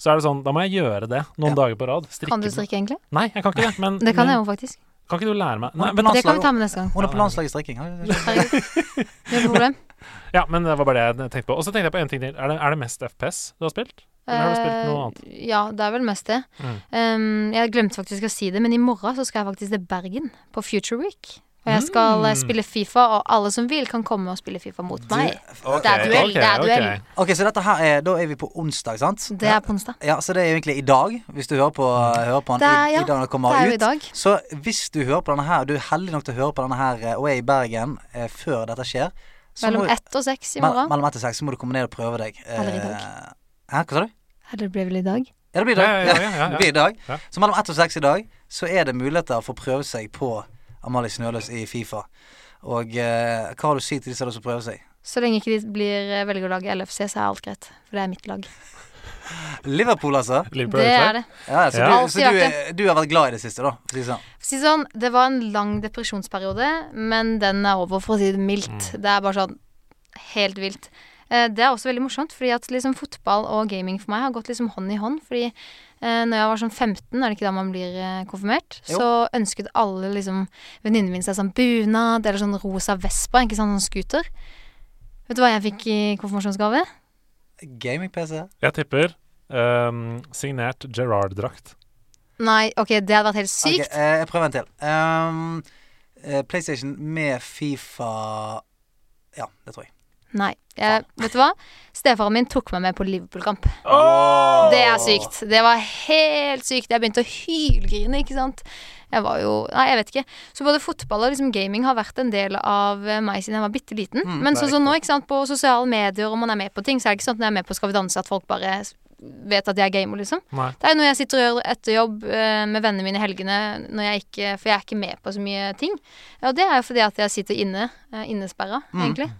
S4: så er det sånn, da må jeg gjøre det
S2: Ja.
S4: noen dager på rad. Strikke.
S1: Kan du strikke, egentlig?
S4: Nei, jeg kan ikke det. Men,
S1: Det kan jeg
S4: men
S1: jo faktisk.
S4: kan ikke du lære meg Nei,
S2: Nei,
S4: men,
S2: men-
S1: Det kan vi ta med neste gang.
S2: Hun er på landslaget i strikking. Har-
S1: Herregud. Det er et problem.
S4: ja, men det var bare det jeg tenkte på. Og så tenkte jeg på en ting til. Er det, er det mest FPS du har spilt? Eller har du spilt noe annet?
S1: Eh, ja, det er vel mest det.
S4: Mm.
S1: Um, jeg glemte faktisk å si det, men i morgen så skal jeg faktisk til Bergen på Future Week. Og jeg skal eh,
S4: Mm.
S1: spille Fifa, og alle som vil, kan komme og spille Fifa mot meg. Det er duell.
S4: Ok,
S1: det er
S4: ok.
S1: duell.
S2: Ok, så dette her er Da er vi på onsdag, sant?
S1: Det er på onsdag.
S2: Ja, så det er jo egentlig i dag, hvis du hører på, hører på den
S1: Det er-
S2: i,
S1: ja,
S2: i dag når den
S1: Det
S2: kommer
S1: er jo i
S2: ut.
S1: dag.
S2: Så hvis du hører på denne her, du er heldig nok til å høre på denne her eh, og er i Bergen eh, før dette skjer så
S1: Mellom
S2: må-
S1: ett og seks i
S2: me-
S1: morgen.
S2: Mellom ett og seks, så må du komme ned og prøve deg. eh,
S1: Eller i dag.
S2: Hæ, hva sa du?
S1: Eller det blir vel i dag.
S2: Ja, det blir i
S4: Ja,
S2: dag.
S4: ja, ja, ja, ja.
S2: det blir i dag.
S4: Ja.
S2: Så mellom ett og seks i dag så er det muligheter for å prøve seg på Amalie Snøløs i Fifa. Og eh, hva har du å si til de som har lyst til å prøve seg?
S1: Så lenge ikke de blir, eh, velger å lage LFC, så er alt greit. For det er mitt lag.
S2: Liverpool, altså.
S4: Liverpool
S1: Det
S4: Red
S1: er
S4: Flag.
S1: det.
S2: Ja, så
S4: Ja.
S2: du,
S1: Alltid
S2: så du,
S1: vært
S2: er, du har vært glad i det siste, da? For å si det sånn.
S1: For å si det sånn, det var en lang depresjonsperiode, men den er over, for å si det mildt.
S2: Mm.
S1: Det er bare sånn helt vilt. Eh, Det er også veldig morsomt, fordi at liksom fotball og gaming for meg har gått liksom hånd i hånd. Fordi eh, når jeg var sånn 15, er det ikke da man blir eh, konfirmert,
S2: Jo.
S1: så ønsket alle liksom venninnene mine seg sånn bunad eller sånn rosa Vespa, ikke sant, sånn scooter. Vet du hva jeg fikk i konfirmasjonsgave?
S2: Gaming-PC.
S4: Jeg tipper ehm, signert Gerard-drakt.
S1: Nei, ok, det hadde vært
S2: Ok,
S1: helt sykt.
S2: eh, jeg prøver en til. Ehm, eh, PlayStation med Fifa Ja, det tror jeg.
S1: Nei. Jeg, vet du hva? Stefaren min tok meg med på Liverpool-kamp.
S4: Oh!
S1: Det er sykt. Det var helt sykt. Jeg begynte å hylgrine, ikke sant. Jeg var jo Nei, jeg vet ikke. Så både fotball og liksom gaming har vært en del av eh, meg siden jeg var bitte liten.
S2: Mm,
S1: Men
S2: det er
S1: sånn som nå, ikke sant, på sosiale medier og man er med på ting, så er det ikke sånn at når jeg er med på Skal vi danse at folk bare s- vet at jeg er gamer, liksom.
S4: Nei.
S1: Det er jo noe jeg sitter og gjør etter jobb eh, med vennene mine i helgene, når jeg ikke, for jeg er ikke med på så mye ting. Ja, og det er jo fordi at jeg sitter inne, eh, innesperra,
S2: Mm.
S1: egentlig.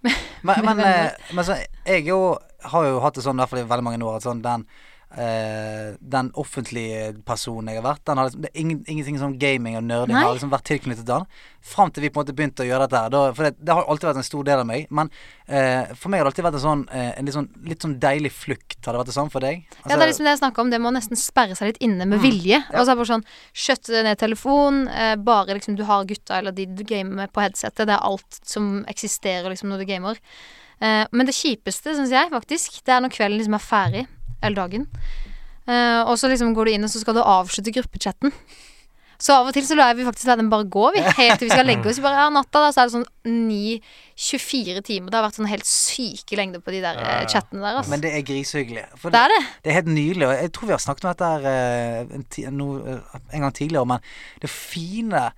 S2: Men, men,
S1: venner.
S2: eh, men så, jeg er jo, har jo hatt det sånn i hvert fall i veldig mange år at sånn den eh, den offentlige personen jeg har vært, den har liksom, det er ingen, ingenting som gaming og nerding
S1: Nei.
S2: har liksom vært tilknyttet til den. Fram til vi på en måte begynte å gjøre dette her. Da, for det, det har alltid vært en stor del av meg. Men eh, for meg har det alltid vært en sånn, eh, en litt sånn litt sånn deilig flukt. Har det vært det sånn for deg?
S1: Ja, det er liksom det jeg snakker om. Det må nesten sperre seg litt inne
S2: Mm.
S1: med vilje. Og så er det bare sånn skjøtte ned telefon, eh, bare liksom du har gutta eller de du gamer med på headsetet. Det er alt som eksisterer liksom når du gamer. Eh, men det kjipeste, syns jeg faktisk, det er når kvelden liksom er ferdig, eller dagen. Eh, og så liksom går du inn, og så skal du avslutte gruppechatten. Så av og til så lar vi faktisk la den bare gå, vi. Helt til vi skal legge oss. Bare ja, natta, da, så er det sånn 9-24 timer. Det har vært sånn helt syke lengder på de der eh, chattene der, altså.
S2: Men det er grisehyggelig. For
S1: Det er det.
S2: Det er helt nydelig, og jeg tror vi har snakket om dette her eh, en, ti, no, eh, en gang tidligere, men det fine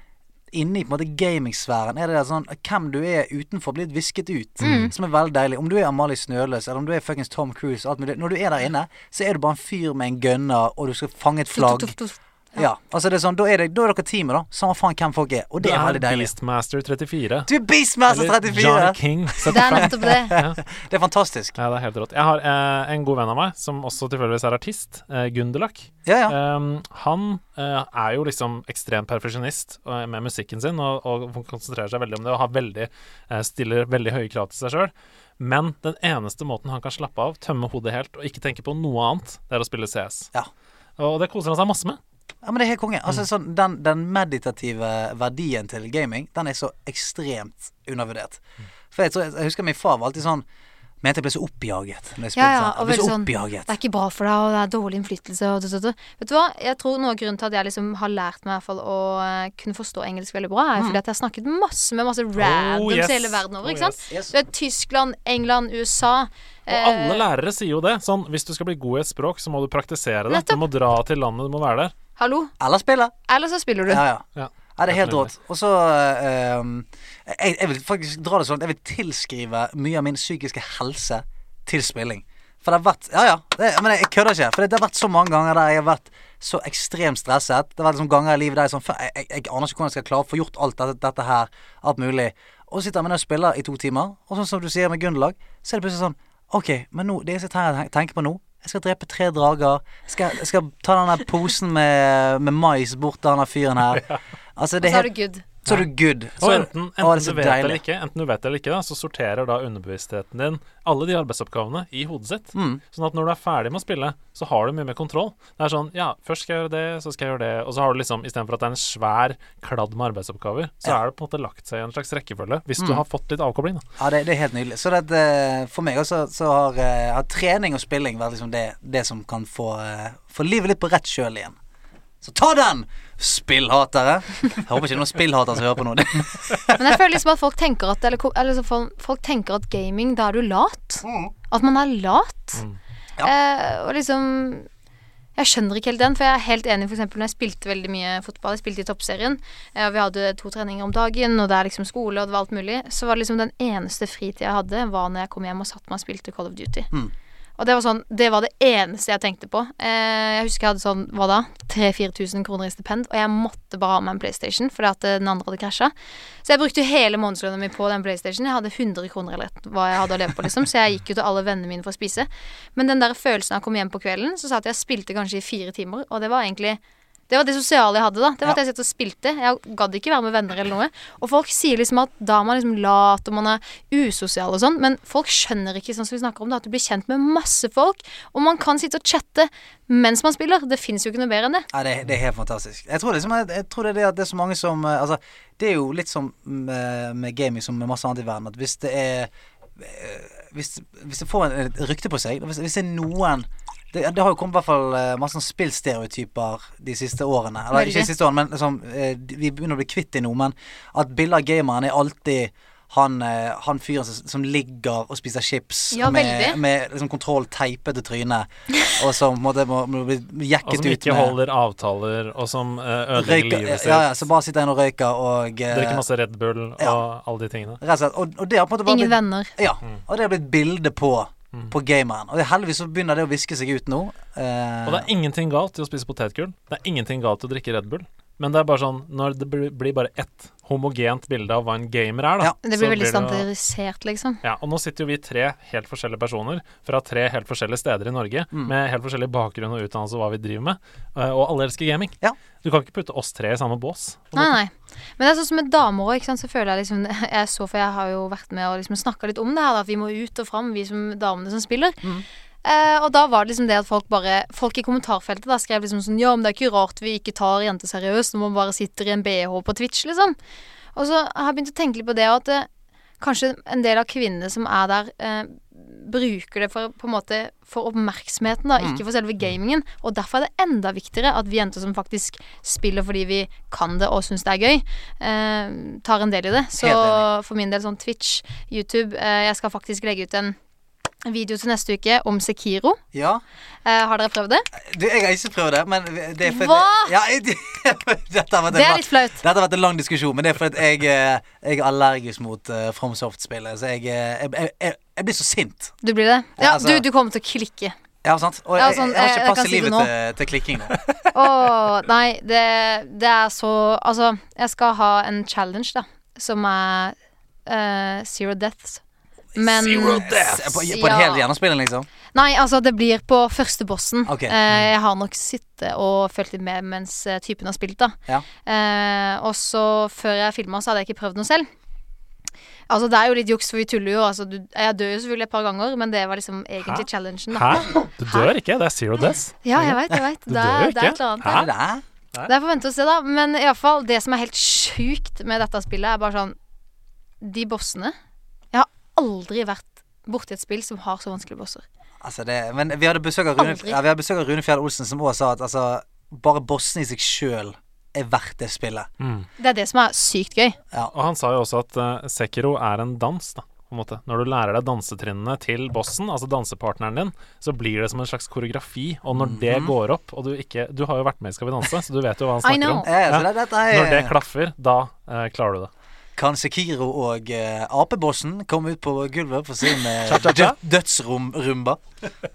S2: inni på en måte gamingsfæren er det der sånn hvem du er utenfor, blir litt visket ut, som er veldig deilig. Om du er Amalie Snøløs, eller om du er fuckings Tom Cruise, alt mulig. Når du er der inne, så er du bare en fyr med en gunner, og du skal fange et flagg.
S1: Tuff, tuff, tuff.
S2: Ja, altså det er sånn, da er, det, da er dere teamet, da. Samme faen hvem folk er. Og det er veldig deilig.
S4: Beastmaster 34.
S2: Du er altså Beastmaster
S4: Eller John
S2: 34!
S4: King.
S1: Det er nettopp det.
S2: Det er fantastisk.
S4: Ja, det er helt rått. Jeg har eh, en god venn av meg, som også tilfeldigvis er artist, eh, Gunderlach.
S2: Ja, ja.
S4: Um, han eh, er jo liksom ekstrem perfeksjonist eh, med musikken sin, og, og konsentrerer seg veldig om det, og har veldig, eh, stiller veldig høye krav til seg sjøl. Men den eneste måten han kan slappe av, tømme hodet helt og ikke tenke på noe annet, det er å spille CS.
S2: Ja.
S4: Og det koser han seg masse med.
S2: Ja, men det er helt konge.
S1: Mm.
S2: Altså, sånn, den, den meditative verdien til gaming, den er så ekstremt undervurdert.
S1: Mm.
S2: For jeg, tror, jeg husker min far var alltid sånn Mente jeg ble så oppjaget. Når jeg spilte,
S1: Ja, ja,
S2: sånn.
S1: og
S2: jeg ble så
S1: veldig sånn,
S2: oppjaget.
S1: Det er ikke bra for deg, og det er dårlig innflytelse. Og død, død, død. Vet du hva? Jeg tror noe av grunnen til at jeg liksom har lært meg i hvert fall å eh, kunne forstå engelsk veldig bra, er fordi at jeg har snakket masse med masse randoms
S4: yes.
S1: hele verden over.
S4: Oh,
S1: ikke sant?
S2: yes.
S1: Du vet, Tyskland, England, USA. eh,
S4: Og alle lærere sier jo det. Sånn, hvis du skal bli god i et språk, så må du praktisere det.
S1: Nettopp.
S4: Du må dra til landet, du må være der.
S1: Hallo?
S2: Eller spille.
S1: Eller så spiller du.
S2: Ja, ja.
S4: Ja.
S2: Ja, det er helt
S4: Helt
S2: rått. Og så ehm, jeg, jeg vil faktisk dra det sånn at jeg vil tilskrive mye av min psykiske helse til spilling. For det har vært Ja, ja. Det, men jeg, jeg kødder ikke. For det, det har vært så mange ganger der jeg har vært så ekstremt stresset. Det har vært liksom ganger i livet der jeg sånn faen, jeg, jeg, jeg aner ikke hvordan jeg skal klare å få gjort alt dette, dette her. Alt mulig. Og så sitter jeg med den og spiller i to timer, og sånn som du sier med Gunderlag, så er det plutselig sånn OK, men nå, det jeg sitter her og tenker på nå jeg skal drepe tre drager. Jeg skal, jeg skal ta den der posen med, med mais bort til han der fyren her. Altså,
S1: Og
S2: det
S1: så
S2: er
S1: er
S2: helt
S1: du good.
S2: Så er du good.
S4: Og
S2: Så,
S4: enten,
S2: å, det er
S4: enten,
S2: så
S4: du vet det eller
S2: deilig.
S4: ikke, enten du vet det eller ikke, da, så sorterer da underbevisstheten din alle de arbeidsoppgavene i hodet sitt.
S2: mm.
S4: Sånn at når du er ferdig med å spille, så har du mye mer kontroll. Det er sånn Ja, først skal jeg gjøre det, så skal jeg gjøre det. Og så har du liksom, istedenfor at det er en svær kladd med arbeidsoppgaver, så
S2: Ja.
S4: er det på en måte lagt seg i en slags rekkefølge. Hvis
S2: Mm.
S4: du har fått litt avkobling, da.
S2: Ja, det, det er helt nydelig. Så det, at, eh, for meg også, så har, eh, har trening og spilling vært liksom det, det som kan få, eh, få livet litt på rett kjøl igjen. Så ta den, spillhatere! Jeg håper ikke det er noen spillhatere som hører på nå. Det-
S1: Men jeg føler liksom at folk tenker at, eller, ko- eller så folk, folk tenker at gaming, da er du lat. At man er lat.
S4: Mm.
S2: Mm. Ja.
S1: Eh, og liksom Jeg skjønner ikke helt den, for jeg er helt enig for eksempel når jeg spilte veldig mye fotball. Jeg spilte i toppserien, eh, og vi hadde to treninger om dagen, og det er liksom skole, og det var alt mulig. Så var det liksom den eneste fritida jeg hadde, var når jeg kom hjem og satt meg og spilte Call of Duty.
S2: Mm.
S1: Og det var sånn, det var det eneste jeg tenkte på. Eh, jeg husker jeg hadde sånn, hva da, 3000-4000 kroner i stipend, og jeg måtte bare ha meg en PlayStation fordi at eh, den andre hadde krasja. Så jeg brukte jo hele månedslønna mi på den PlayStation. Jeg hadde 100 kroner eller et- hva jeg hadde å leve på, liksom, så jeg gikk jo til alle vennene mine for å spise. Men den der følelsen av å komme hjem på kvelden, så satt jeg og spilte kanskje i fire timer, og det var egentlig det var det sosiale jeg hadde, da. Det var at jeg satt og spilte. Jeg gadd ikke være med venner eller noe. Og folk sier liksom at da er man liksom lat, og man er usosial og sånn, men folk skjønner ikke, sånn som vi snakker om, da, at du blir kjent med masse folk, og man kan sitte og chatte mens man spiller. Det fins jo ikke noe bedre enn det.
S2: Ja, det, det er helt fantastisk. Jeg tror, liksom, jeg, jeg tror det er det at det er så mange som eh, Altså, det er jo litt som med, med gaming som med masse annet i verden, at hvis det er eh, Hvis, hvis det får en, et rykte på seg, hvis, hvis det er noen det, det har jo kommet i hvert fall eh, masse sånn spillstereotyper de siste årene. Eller ikke
S1: Veldig.
S2: de siste årene, men liksom, eh, de- vi begynner å bli kvitt det nå. Men at bildet av gameren er alltid han, eh, han fyren som, som ligger og spiser chips
S1: Ja,
S2: med,
S1: veldig.
S2: med liksom kontroll teipet til trynet, og som på en måte må, må bli
S4: Og
S2: jekket
S4: Altså, som
S2: ut
S4: ikke
S2: med
S4: holder avtaler, og som eh, ødelegger
S2: Røyker,
S4: livet sitt.
S2: ja, ja, så bare sitter en og røyker og eh,
S4: Drikker masse Red Bull og
S2: Ja.
S4: alle de tingene.
S2: Rett og slett. Og, og det har på en måte bare
S1: Ingen
S2: blitt,
S1: venner.
S2: ja,
S4: Mm.
S2: og det har blitt bilde på, på gameren. Og heldigvis så begynner det å viske seg ut nå. Eh,
S4: Og det er ingenting galt i å spise potetgull. Det er ingenting galt i å drikke Red Bull. Men det er bare sånn når det blir blir bare ett homogent bilde av hva en gamer er, da.
S2: Ja.
S1: Det
S4: så
S1: blir veldig
S4: jo-
S1: standardisert, liksom.
S4: Ja, og nå sitter jo vi tre helt forskjellige personer fra tre helt forskjellige steder i Norge, med helt forskjellig bakgrunn og utdannelse og hva vi driver med, eh, og alle elsker gaming.
S2: Ja.
S4: Du kan ikke putte oss tre i samme bås. på en
S1: Nei,
S4: måte.
S1: nei. Men det er sånn som med damer òg, så føler jeg liksom Jeg er så, for jeg har jo vært med og liksom snakka litt om det her, da, at vi må ut og fram, vi som damene som spiller.
S4: Mm.
S1: Eh, og da var det liksom det at folk bare Folk i kommentarfeltet da skrev liksom sånn Ja, men det er ikke rart vi ikke tar jenter seriøst når man bare sitter i en bh på Twitch, liksom. Og så har jeg begynt å tenke litt på det og at eh, kanskje en del av kvinnene som er der, eh, bruker det for, på en måte, for oppmerksomheten, da,
S2: Mm.
S1: ikke for selve gamingen. Og derfor er det enda viktigere at vi jenter som faktisk spiller fordi vi kan det og syns det er gøy, eh, tar en del i det. Så
S2: Helt enig.
S1: for min del sånn Twitch, YouTube eh, Jeg skal faktisk legge ut en video til neste uke om Sekiro.
S2: ja.
S1: Eh, har dere prøvd det?
S2: Du, jeg har ikke prøvd det, men det er fordi-
S1: Hva?
S2: Ja, jeg- dette har vært
S1: Det
S2: en
S1: er
S2: lang-
S1: litt flaut.
S2: dette har vært en lang diskusjon, men det er fordi at jeg, eh, jeg er allergisk mot uh, Fromsoft-spillet. Så jeg, eh, jeg, jeg, jeg, jeg blir så sint.
S1: Du blir det?
S2: Ja,
S1: Ja,
S2: altså-
S1: du, du kommer til å klikke.
S2: Ja, sant? Og
S1: Ja,
S2: jeg,
S1: sånn,
S2: jeg, har
S1: eh, jeg
S2: ikke
S1: kan
S2: pass i
S1: si det
S2: livet
S1: nå.
S2: til, til klikking nå.
S1: Å, nei, det, det er så Altså, jeg skal ha en challenge, da, som er eh, Zero Deaths. Men
S4: Zero
S2: På, på en
S1: Ja.
S2: hel gjennomspilling, liksom?
S1: Nei, altså, det blir på første bossen.
S2: Ok.
S4: mm.
S1: Eh, jeg har nok sittet og følt litt med mens eh, typen har spilt, da.
S2: Ja.
S1: Eh, og så, før jeg filma, så hadde jeg ikke prøvd noe selv. Altså, det er jo litt juks, for vi tuller jo. Altså, du, jeg dør jo selvfølgelig et par ganger, men det var liksom egentlig
S4: Hæ?
S1: challengen, da.
S4: Hæ? Du dør ikke, det er zero deaths.
S1: Ja, jeg veit, jeg veit.
S4: Du
S1: Det,
S4: dør jo
S1: er- det
S4: ikke.
S1: er et eller annet.
S4: Hæ?
S2: Er det det?
S1: Det er forventet å se, da. Men i alle fall, det som er helt sjukt med dette spillet, er bare sånn De bossene Jeg har aldri vært borti et spill som har så vanskelige bosser.
S2: Altså det, men vi hadde besøk av Rune,
S1: Aldri.
S2: ja, vi hadde besøk av Rune Fjell Olsen, som også sa at altså, bare bossen i seg sjøl er verdt det spillet.
S1: Det er det som er sykt gøy.
S4: Og han sa jo også at eh, Sekiro er en dans, da. På en måte. Når du lærer deg dansetrinnene til bossen, altså dansepartneren din, så blir det som en slags koreografi. Og når det
S2: Mhm.
S4: går opp, og du ikke Du har jo vært med i Skal vi danse, så du vet jo hva han
S1: I
S4: snakker
S1: know.
S4: om.
S2: Ja, Eh, så
S4: Ja.
S2: det, dette er,
S4: Når det klaffer, da eh, klarer du det.
S2: Kan Sekiro og eh, apebossen komme ut på gulvet for sin eh,
S4: Cha-cha-cha?
S2: død- dødsrumba?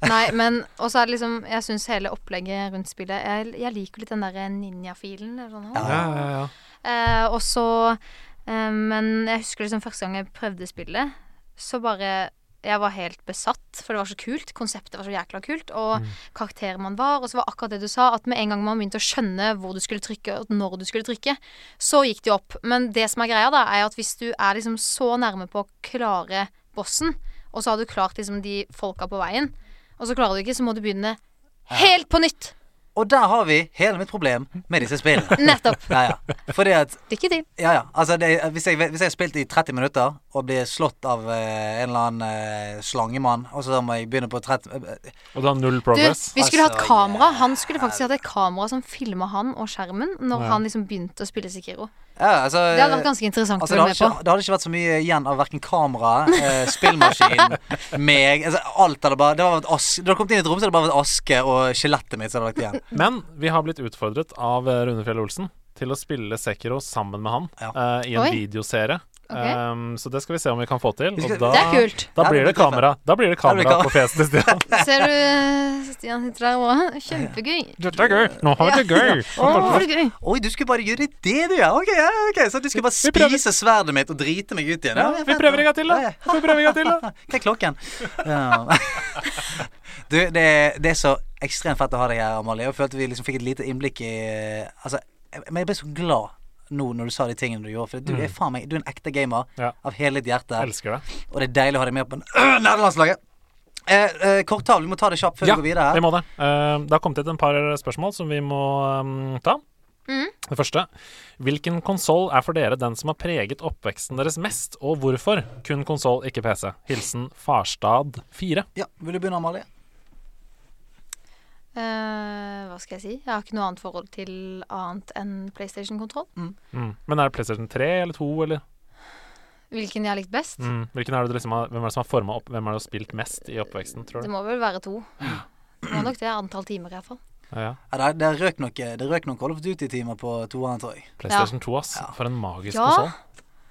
S1: Nei, men Og så er det liksom Jeg syns hele opplegget rundt spillet Jeg, jeg liker litt den derre ninjafilen. eller sånn.
S2: Ja.
S4: Ja, ja, ja.
S1: Eh, og så eh, Men jeg husker liksom første gang jeg prøvde spillet, så bare jeg var helt besatt, for det var så kult. Konseptet var så jækla kult. Og karakteren man var. Og så var akkurat det du sa, at med en gang man begynte å skjønne hvor du skulle trykke, og når du skulle trykke, så gikk det jo opp. Men det som er greia, da, er at hvis du er liksom så nærme på å klare bossen, og så har du klart liksom de folka på veien, og så klarer du ikke, så må du begynne helt på nytt.
S2: Og der har vi hele mitt problem med disse spillene.
S1: Nettopp.
S2: Ja, ja. Fordi at
S1: Lykke til.
S2: Ja, ja. Altså, det, hvis, jeg, hvis jeg har spilt i 30 minutter og blir slått av eh, en eller annen eh, slangemann, og så må jeg begynne på 30 eh,
S4: Og du har null
S1: Du,
S4: progress?
S1: vi skulle hatt
S2: Altså,
S1: kamera. Han skulle faktisk hatt et kamera som filma han og skjermen når han liksom begynte å spille Sikiro.
S2: Ja, altså
S1: Det hadde vært ganske interessant
S2: Altså, det,
S1: å
S2: hadde
S1: være med på.
S2: ikke, det hadde ikke vært så mye igjen av verken kameraet, eh, spillmaskinen, meg altså, Alt hadde bare Det hadde vært aske Du hadde kommet inn i et rom, så hadde det bare vært aske og skjelettet mitt som hadde lagt igjen.
S4: Men vi har blitt utfordret av eh, Rune Fjell Olsen til å spille Sekiro sammen med han
S2: Ja.
S4: eh, i en
S1: Oi.
S4: videoserie.
S1: Ok.
S4: Um, så det skal vi se om vi kan få til.
S2: Vi skal-
S4: Og da,
S1: Det er kult.
S4: da
S2: Ja,
S4: blir det
S2: det blir
S4: kamera Da blir det
S2: Ja, det blir
S4: kamera
S2: kamera.
S4: på fjeset til Stian.
S1: Ser du Stian sitter der òg? Kjempegøy.
S4: Dette er gøy! Nå har vi det gøy!
S1: Å, så gøy.
S2: Oi, du skulle bare gjøre det, du, ja. Ok, ja, ok Så du skulle bare
S4: Vi prøver.
S2: spise sverdet mitt og drite meg ut igjen.
S4: Ja,
S2: Ja,
S4: vi
S2: fett,
S4: prøver en
S2: ja.
S4: gang til, da.
S2: Ja, ja.
S4: Vi prøver en gang til, da.
S2: Hva er klokken? Ja. Du, det, er- det er så ekstremt fett å ha deg her, Amalie. Jeg følte vi liksom fikk et lite innblikk i Altså, jeg- men jeg ble så glad nå når du sa de tingene du gjorde. For du er faen meg Du er en ekte gamer
S4: Mm. Ja.
S2: av hele ditt hjerte.
S4: Elsker det.
S2: Og det er deilig å ha deg med på nederlandslaget. Eh, eh, Kortavl, vi må ta det kjapt før
S4: Ja,
S2: vi går videre. her
S4: vi må det. Eh, det har kommet inn et par spørsmål som vi må um, ta. Det første. Hvilken konsoll er for dere den som har preget oppveksten deres mest, og hvorfor? Kun konsoll, ikke PC. Hilsen Farstad 4.
S2: Ja, Vil du begynne, Amalie?
S1: Eh, hva skal jeg si? Jeg har ikke noe annet forhold til annet enn PlayStation-kontroll.
S4: Mm. Men er det PlayStation 3 eller 2, eller?
S1: Hvilken jeg har likt best?
S4: Mm. Hvilken er det du liksom har, hvem er det som har forma opp? Hvem er det du har spilt mest i oppveksten, tror
S1: Det
S4: du?
S1: må vel være to. Det var nok det antall timer, iallfall.
S4: Ja, ja.
S2: Ja, det, det røk nok eh, Det røk noen Call of Duty-timer på toeren, tror jeg.
S4: PlayStation 2, ass.
S2: Ja.
S4: For en magisk
S1: Ja.
S4: konsoll.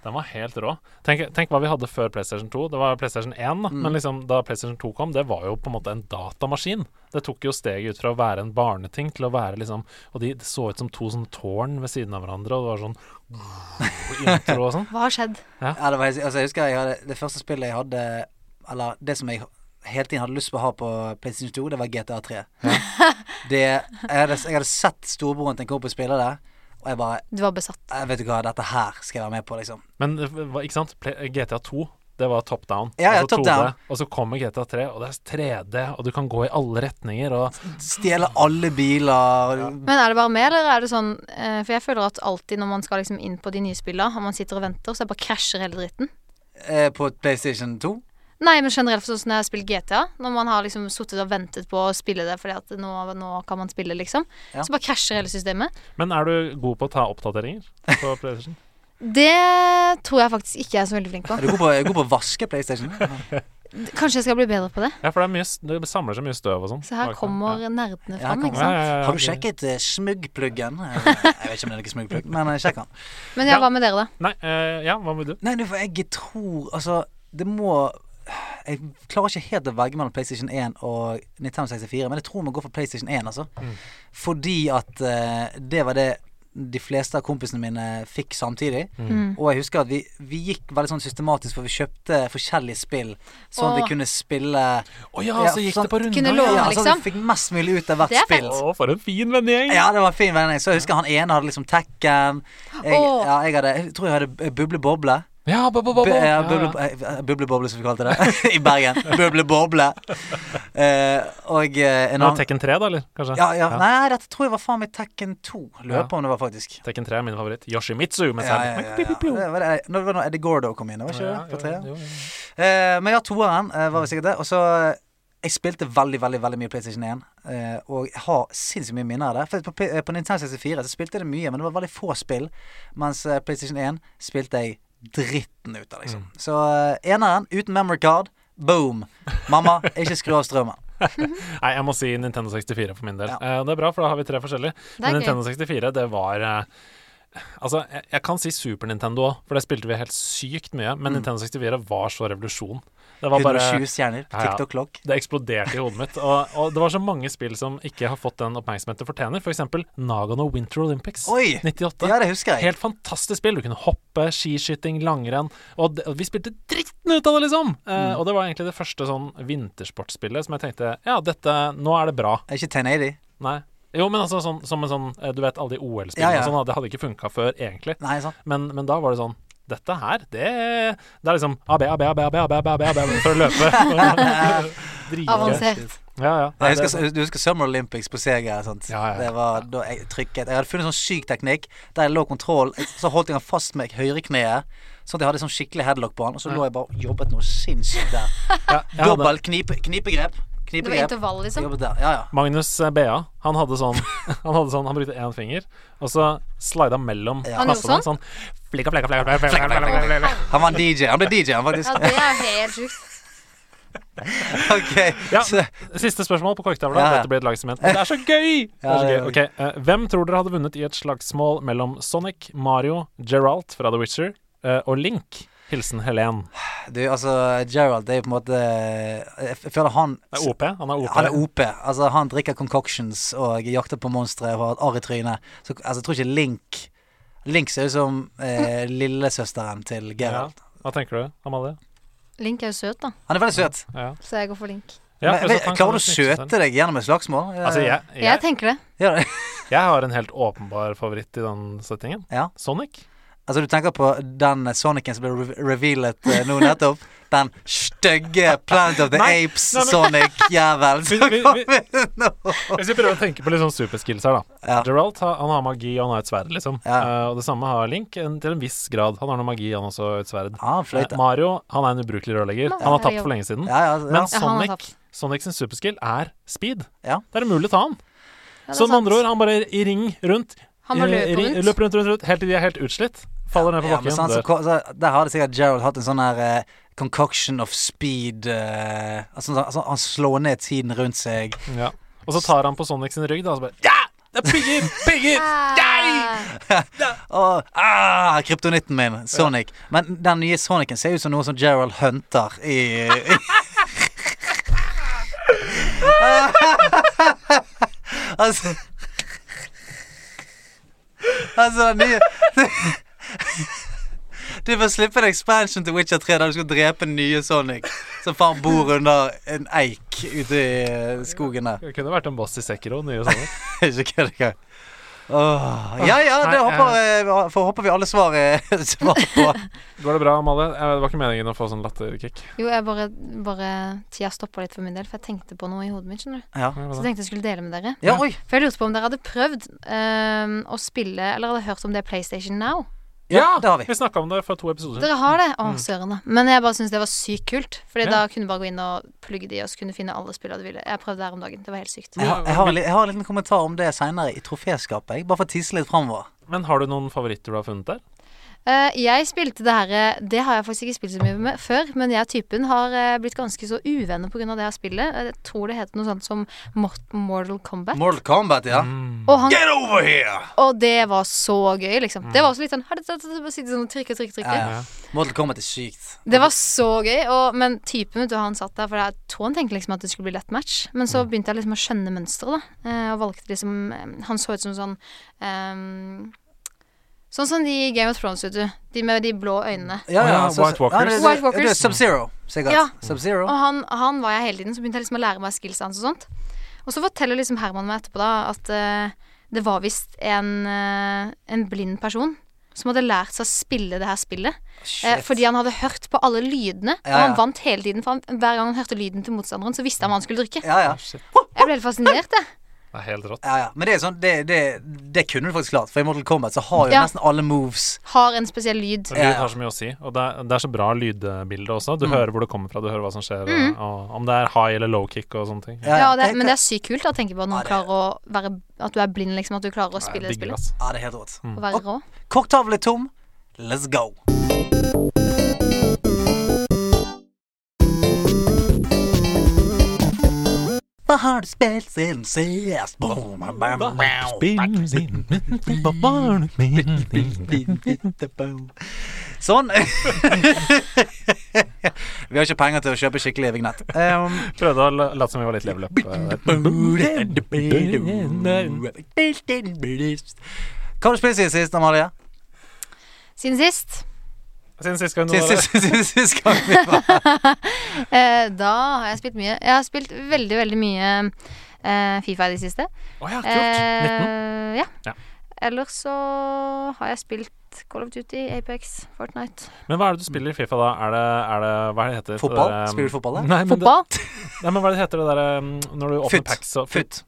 S4: Den var helt rå. Tenk, tenk hva vi hadde før PlayStation 2. Det var PlayStation 1,
S2: Mm.
S4: da. men liksom, da PlayStation 2 kom, det var jo på en måte en datamaskin. Det tok jo steget ut fra å være en barneting til å være liksom Og de det så ut som to sånne tårn ved siden av hverandre, og det var sånn og intro og sånn.
S1: Hva har skjedd?
S2: Ja, det var, helt- altså, jeg husker jeg hadde, det første spillet jeg hadde Eller det som jeg hele tiden hadde lyst på å ha på PlayStation 2, det var GTA3. Det, jeg, hadde, jeg hadde sett storebroren til en kompis spille det, og jeg bare
S1: Du var besatt.
S2: jeg Vet du hva, dette her skal jeg være med på, liksom.
S4: Men det var- ikke sant, Play- eh, GTA 2 det var top down.
S2: Ja, ja,
S4: Og så
S2: top
S4: 2D,
S2: down.
S4: Og så kommer GTA 3, og det er 3D, og du kan gå i alle retninger, og
S2: Stjele alle biler.
S4: Mm.
S1: Men er det bare meg, eller er det sånn eh, For jeg føler at alltid når man skal liksom inn på de nye spillene, og man sitter og venter, så jeg bare krasjer hele dritten.
S2: eh, På PlayStation 2.
S1: Nei, men generelt for sånn som jeg har spilt GTA, når man har liksom sittet og ventet på å spille det fordi at nå, nå kan man spille, liksom,
S2: Ja.
S1: så bare krasjer hele systemet.
S4: Men er du god på å ta oppdateringer på PlayStation?
S1: Det tror jeg faktisk ikke jeg er så veldig flink på.
S2: Er du god på, er du god på å vaske PlayStation?
S1: Kanskje jeg skal bli bedre på det.
S4: Ja, for det, er mye, s- det samler seg mye støv og sånn.
S1: Så her
S4: bak den.
S1: kommer
S4: Ja.
S1: nerdene
S2: Ja, her
S1: fram,
S2: kommer-
S1: ikke
S4: Ja,
S1: sant.
S4: ja, ja, ja.
S2: Har du sjekket eh, smuggpluggen? Eh, Jeg vet ikke om det er noen smuggplugg, men eh, sjekk den.
S1: Men ja,
S4: Ja.
S1: hva med dere, da?
S4: Nei, eh, ja, hva med du?
S2: Nei, du, for jeg tror Altså, det må Jeg klarer ikke helt å velge mellom PlayStation 1 og Nintendo 64, men jeg tror vi går for PlayStation 1, altså.
S4: Mm.
S2: Fordi at eh, det var det de fleste av kompisene mine fikk samtidig.
S4: Mm.
S1: Mm.
S2: Og jeg husker at vi, vi gikk veldig sånn systematisk, for vi kjøpte forskjellige spill. Sånn at
S1: Åh.
S2: vi kunne spille
S4: Å ja,
S2: Ja,
S4: så gikk
S2: sånn-
S4: det på runder.
S1: Kunne
S4: ja.
S1: låne,
S2: Ja, sånn at
S1: liksom.
S2: vi fikk mest mulig ut av hvert
S1: Det er fett.
S2: spill.
S4: Å, for en fin vennegjeng.
S2: Ja, det var en fin vending. Så jeg husker han ene hadde liksom Tekken. Jeg,
S1: Åh.
S2: ja, jeg, hadde, jeg tror jeg hadde eh, Buble Boble.
S4: Ja, bo, bo, bo,
S2: Bu-
S4: bo.
S2: ja,
S4: Ja,
S2: buble,
S4: ja.
S2: eh, buble Boble, som vi kalte det i Bergen. Buble Boble. Eh, og eh, en
S4: Nå er det
S2: annen
S4: Tekken 3, da, eller? Kanskje?
S2: ja, ja. Nei, dette tror jeg var faen meg Tekken 2. Lurer
S4: Ja.
S2: på om det var faktisk.
S4: Tekken 3 er min favoritt. Yoshimitsu med
S2: Ja,
S4: seg.
S2: ja, ja, ja. Det var det- Nå det var da Eddie Gordo kom inn, var ikke det? På treet?
S4: jo, jo.
S2: Eh, men ja, toeren eh, var vel sikkert det. Og så eh, Jeg spilte veldig veldig, veldig mye PlayStation 1, eh, og jeg har sinnssykt mye minner av det. For på, P- eh, på Nintendo 64 så spilte jeg det mye, men det var veldig få spill. Mens eh, PlayStation 1 spilte jeg dritten ut av,
S4: Mm.
S2: liksom. Så eh, eneren uten memory card, boom. Mamma, ikke skru av strømmen.
S4: Nei, jeg må si Nintendo 64 for min del.
S2: Ja.
S4: Eh, det er bra, for da har vi tre forskjellige.
S1: Det
S4: Men
S1: er gøy.
S4: Nintendo 64, det var eh, Altså, jeg, jeg kan si Super Nintendo òg, for det spilte vi helt sykt mye.
S2: Mm.
S4: Men Nintendo 64 var så revolusjon. Det var bare
S2: 120 stjerner.
S4: Ja, ja.
S2: TikTok-lokk.
S4: det eksploderte i hodet mitt. Og, og det var så mange spill som ikke har fått den oppmerksomheten det fortjener. F.eks. Nagano Winter Olympics
S2: Oi!
S4: 98.
S2: Ja, det husker jeg.
S4: Helt fantastisk spill. Du kunne hoppe, skiskyting, langrenn. Og, det, og vi spilte dritten ut av det, liksom! Eh, Og det var egentlig det første sånn vintersportspillet som jeg tenkte Ja, dette Nå er det bra.
S2: Er ikke 1080?
S4: Nei. Jo, men altså sånn, som en sånn eh, Du vet alle de OL-spillene
S2: Ja, ja.
S4: og sånn, da, det hadde ikke funka før, egentlig.
S2: Nei, sant.
S4: Men, men da var det sånn Dette her, det Det er liksom AB, AB, AB, AB, AB, AB, AB for å løpe. Dritgøy.
S1: Avansert.
S4: Ja, ja.
S2: Nei,
S4: Nei,
S2: jeg husker, du husker Summer Olympics på Sega? Sant?
S4: Ja, ja.
S2: Det var da jeg trykket Jeg hadde funnet sånn syk teknikk der jeg lå kontroll, så holdt jeg den fast med høyrekneet. Sånn at jeg hadde sånn skikkelig headlock på den, og så lå jeg bare og jobbet noe sinnssykt der.
S4: ja, jeg hadde-
S2: Dobbel knipe, knipegrep.
S1: Det var
S2: Knipegrep.
S1: intervall, liksom.
S2: Jobbet der. Ja, ja.
S4: Magnus eh, BA, han hadde sånn Han, hadde sånn, han brukte én finger, og så slida mellom
S2: Ja.
S1: Han gjorde
S4: knappene sånn. Flikka, flikka, flikka, flikka, flikka, flikka, flikka, flikka.
S2: Han var en DJ. Han ble DJ, han
S1: Ja,
S2: faktisk.
S1: det er helt sjukt.
S2: Ok.
S4: Ja.
S2: Så,
S4: Siste spørsmål på korktavla.
S2: Ja, ja.
S4: Dette blir et lagsement. Men Det er så gøy! Det er så
S2: Ja,
S4: gøy.
S2: ja, ja.
S4: Ok, eh, Hvem tror dere hadde vunnet i et slagsmål mellom Sonic, Mario, Geralt fra The Witcher eh, og Link? Hilsen Helen.
S2: du, altså, Gerald det er jo på en måte Jeg føler han
S4: Det er OP. Han er OP.
S2: Han er OP. Altså, han drikker concoctions og jakter på monstre og har et arr i trynet. Så altså, jeg tror ikke Link Link ser ut som eh, lillesøsteren til
S4: ja.
S2: Geralt.
S4: Hva tenker du, Amalie?
S1: Link er jo søt, da,
S2: Han er veldig søt.
S4: Ja.
S1: så jeg går for Link.
S4: Ja,
S2: Men,
S4: altså,
S2: men,
S4: han kan
S2: klarer du å
S4: jo snike seg selv.
S2: søte deg gjennom et slagsmål? Eh,
S4: Altså, jeg,
S1: Jeg
S4: jeg,
S1: tenker det.
S2: gjør det.
S4: jeg har en helt åpenbar favoritt i den settingen.
S2: Ja.
S4: Sonic.
S2: altså, du tenker på den Sonicen som ble re- revealet eh, nå nettopp? Den stygge Planet of the
S4: Nei, nei, men-
S2: Apes-Sonic-jævelen som
S4: Vi- vi-
S2: kommer nå.
S4: Hvis vi prøver å tenke på litt sånn superskills her, da.
S2: Ja.
S4: Geralt har- han har magi, og han har et sverd, liksom.
S2: Ja.
S4: Eh, og det samme har Link, en, til en viss grad. Han har noe magi, han også, og et sverd.
S2: Ah,
S4: Eh,
S2: fløyte.
S4: Mario, han er en ubrukelig rørlegger.
S1: Nei,
S4: Han har
S1: det er
S4: tapt
S1: jo-
S4: for lenge siden.
S2: Ja, ja, ja.
S4: Men
S1: Ja, han har
S4: Sonic,
S1: tapt.
S4: Sonic sin superskill er speed.
S2: Ja.
S4: Det er umulig å ta han.
S1: Ja, det
S4: så med
S1: er sant.
S4: Sånn andre ord, han bare i ring rundt.
S1: Han må
S4: i-
S1: løpe
S4: ring-
S1: rundt.
S4: løper rundt, rundt, rundt, helt til de er helt utslitt. Faller ned Sånn på
S2: Ja, men
S4: bakken.
S2: sant, så,
S4: dør.
S2: ko- så, der hadde sikkert Gerald hatt en sånn her eh, concoction of speed eh, altså, altså, Han slår ned tiden rundt seg.
S4: ja. Og så tar han på Sonic sin rygg, da, og så bare Ja! Det er pigger! Pigger! Nei!
S1: Ah,
S2: Og ah, kryptonitten min, Sonic. Men den nye Sonicen ser ut som noe som Gerald hunter i, i Altså Altså, den nye Du får slippe en expansion til Witcher 3 der du skal drepe den nye Sonic, som faen bor under en eik ute i eh, skogen der.
S4: Det kunne vært en boss i Sekiro, nye Sonic.
S2: Ikke kødd engang. Åh, Ja ja, det
S4: Nei,
S2: håper, eh, får- håper vi alle svar, eh, svar på.
S4: Går det bra, Amalie? Eh, Det var ikke meningen å få sånn latterkick.
S1: Jo, jeg bare, bare Tida stoppa litt for min del, for jeg tenkte på noe i hodet mitt. skjønner du
S2: Ja.
S1: Så jeg tenkte jeg skulle dele med dere.
S2: ja, oi.
S1: For jeg lurte på om dere hadde prøvd øhm, å spille Eller hadde hørt om det er PlayStation Now.
S2: Ja, det har vi.
S4: Vi snakka om det for to episoder siden.
S1: Dere har det?
S2: Mm.
S1: Å, søren, da. Men jeg bare syns det var sykt kult. Fordi
S4: Ja.
S1: da kunne du bare gå inn og plugge de, og så kunne du finne alle spillene du ville. Jeg prøvde her om dagen. Det var helt sykt.
S2: Jeg har, jeg har, en li- jeg har en liten kommentar om det seinere i troféskapet. Jeg bare får tisse litt framover.
S4: Men har du noen favoritter du har funnet der?
S1: Eh, jeg spilte det her eh, Det har jeg faktisk ikke spilt så mye med før, men jeg og typen har eh, blitt ganske så uvenner pga. det her spillet. Eh, Jeg tror det heter noe sånt som Mor- Mortal Kombat.
S2: Mortal Kombat, ja.
S4: Mm.
S1: Og, han,
S2: Get over here!
S1: og det var så gøy, liksom. Det var også litt sånn her, det- det- det- Bare sitte sånn og trykke, trykke, trykke.
S2: Ja, ja. Mortal Kombat er sykt.
S1: Det var så gøy. Og, men typen, vet du, han satt der, for jeg tror han tenkte liksom at det skulle bli lett match. Men så begynte jeg liksom å skjønne mønsteret, da. eh, Og valgte liksom eh, Han så ut som sånn eh, Sånn som de i Game of Thrones, vet du. De med de blå øynene.
S4: Å ja, White Walkers.
S2: altså, det- det-
S1: White Walkers.
S2: Det er Sub-Zero, sikkert.
S1: Ja.
S2: Sub-Zero.
S1: Og han, han var jeg hele tiden, så begynte jeg liksom å lære meg skills hans og sånt. Og så forteller liksom Herman meg etterpå da at eh, det var visst en, eh, en blind person som hadde lært seg å spille det her spillet. eh,
S2: Shit.
S1: fordi han hadde hørt på alle lydene, og
S2: Ja, ja.
S1: han vant hele tiden. For han, hver gang han hørte lyden til motstanderen, så visste han hva han skulle drikke.
S2: Ja, ja.
S4: Oh, Shit.
S1: Jeg ble helt fascinert, jeg.
S4: Det er helt rått.
S2: ja, ja. Men det er sånn, det, det, det kunne du faktisk klart. For i Mortal Kombat så har jo
S1: Ja.
S2: nesten alle moves
S1: Har en spesiell lyd.
S2: Ja,
S4: Og
S2: Mm.
S4: Lyd
S2: ja.
S4: har så mye å si. Og det er, det er så bra lydbilde også. Du hører hvor det kommer fra, du hører hva som skjer,
S2: Mm.
S4: og, og om det er high eller low kick og sånne ting.
S2: ja,
S1: Ja, det,
S2: tenk-
S1: men det er sykt kult da, å tenke på at noen
S2: Ja, det-
S1: klarer å være At du er blind, liksom. At du klarer å spille det
S4: Digger,
S1: spillet.
S4: ass.
S2: Ja, det er helt rått.
S1: Og være rå.
S2: Korktavle tom. Let's go. Hva har du spilt siden sist? Boom, bam, bam, bam. Sånn. Vi har ikke penger til å kjøpe skikkelig vignett. Um,
S4: Prøvde å la- late som vi var litt level up. eh, der.
S2: hva har du spilt siden sist, Amalie?
S1: Siden sist.
S4: Siden sist gang du
S2: Siden
S4: var
S2: sist- siden sist gang vi var
S1: Eh, da har jeg spilt mye. Jeg har spilt veldig, veldig mye eh, Fifa i det siste.
S4: Å ja, kult. 19.
S1: Eh, ja.
S4: Ja.
S1: Ellers så har jeg spilt Call of Duty, Apex, Fortnite.
S4: Men hva er det du spiller i Fifa, da? Er det, er det Hva er det heter?
S2: Fotball?
S4: Det der, um,
S2: Spiller du fotball, da?
S4: Nei, men det,
S1: Fotball.
S4: nei, men hva er det heter det derre um, når du åpner
S2: Foot.
S4: packs og
S2: Futt.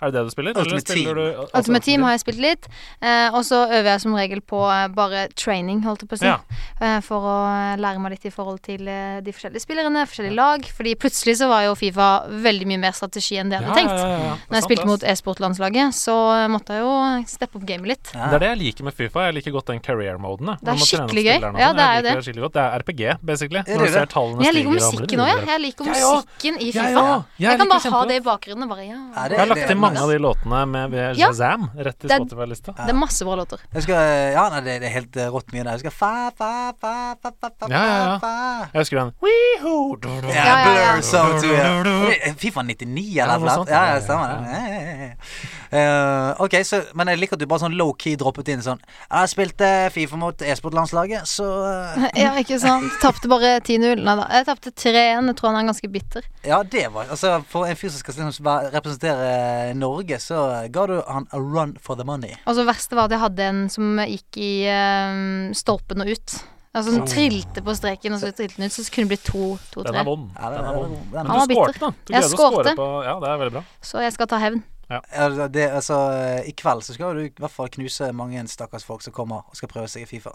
S4: Er det det du spiller? eller
S2: Ultimate
S4: spiller
S2: Team.
S4: Du, altså-
S1: Ultimate Altså, Team har jeg spilt litt. Eh, og så øver jeg som regel på eh, bare training, holdt jeg på å si.
S4: Ja.
S1: Eh, for å eh, lære meg litt i forhold til eh, de forskjellige spillerne, forskjellige lag. Fordi plutselig så var jo Fifa veldig mye mer strategi enn det jeg hadde tenkt. Når jeg spilte mot e-sportlandslaget, så eh, måtte jeg jo steppe opp gamet litt.
S4: Det er det jeg liker med Fifa. Jeg liker godt den career-moden.
S1: Det er skikkelig gøy.
S4: sånn.
S1: Ja, det er jo det.
S4: det. Skikkelig godt. Det er RPG, basically.
S2: det
S4: Når
S2: det?
S4: du ser tallene
S1: Men jeg liker
S4: stiger og
S1: musikken
S4: blir
S1: òg, jeg.
S4: bedre.
S1: Jeg liker
S4: Jeg òg.
S1: musikken i
S4: Jeg
S1: Fifa.
S4: òg. Jeg
S1: Jeg kan
S4: liker
S1: bare ha
S4: kjempegodt.
S1: det i bakgrunnen og bare ja.
S2: Ja, det-
S4: Jeg har lagt
S2: det-
S4: til mange av de låtene med ved
S1: Ja.
S4: Shazam rett i
S1: Det er-
S4: Spotify-lista.
S1: Det er masse bra låter.
S2: Jeg husker, eh, ja, nei, det, det er helt eh, rått mye der. Jeg husker fa, fa, fa, fa, fa, fa,
S4: Ja, ja, ja.
S2: fa.
S4: Jeg husker den Weehoo!
S2: Ja,
S1: ja, ja.
S2: Blur Zone 2, ja. Eh, Fifa 99 eller
S4: Ja,
S2: noe
S4: noe
S2: sånt.
S4: sånt.
S2: Ja, ja, stemmer det. Ja, ja, ja. Eh, ok, så, Men jeg liker at du bare sånn low-key droppet inn sånn Jeg spilte Fifa mot e-sportlandslaget, så eh,
S1: Ja, ikke sant. Tapte bare 10-0. Nei da. Jeg tapte 3-1. Jeg tror han er ganske bitter.
S2: Ja, det var Altså, for en fyr som skal liksom være- representere Norge, så ga du han a run for the money.
S1: Og så verste Altså, var at jeg hadde en som gikk i eh, stolpen og ut. Altså som trilte på streken, og så trilte den ut, så kunne det bli to-
S4: Den er
S1: 2-3.
S4: vond.
S2: Ja, det-
S4: Den er vond.
S2: den-
S4: Men
S1: var
S4: du
S1: bitter.
S4: skårte, da. Du
S1: Jeg
S4: greide å skåre
S1: skårte.
S4: på Ja, det er veldig bra.
S1: Så jeg skal ta hevn.
S2: Ja, det, det- altså, I kveld så skal du i hvert fall knuse mange stakkars folk som kommer og skal prøve seg i Fifa.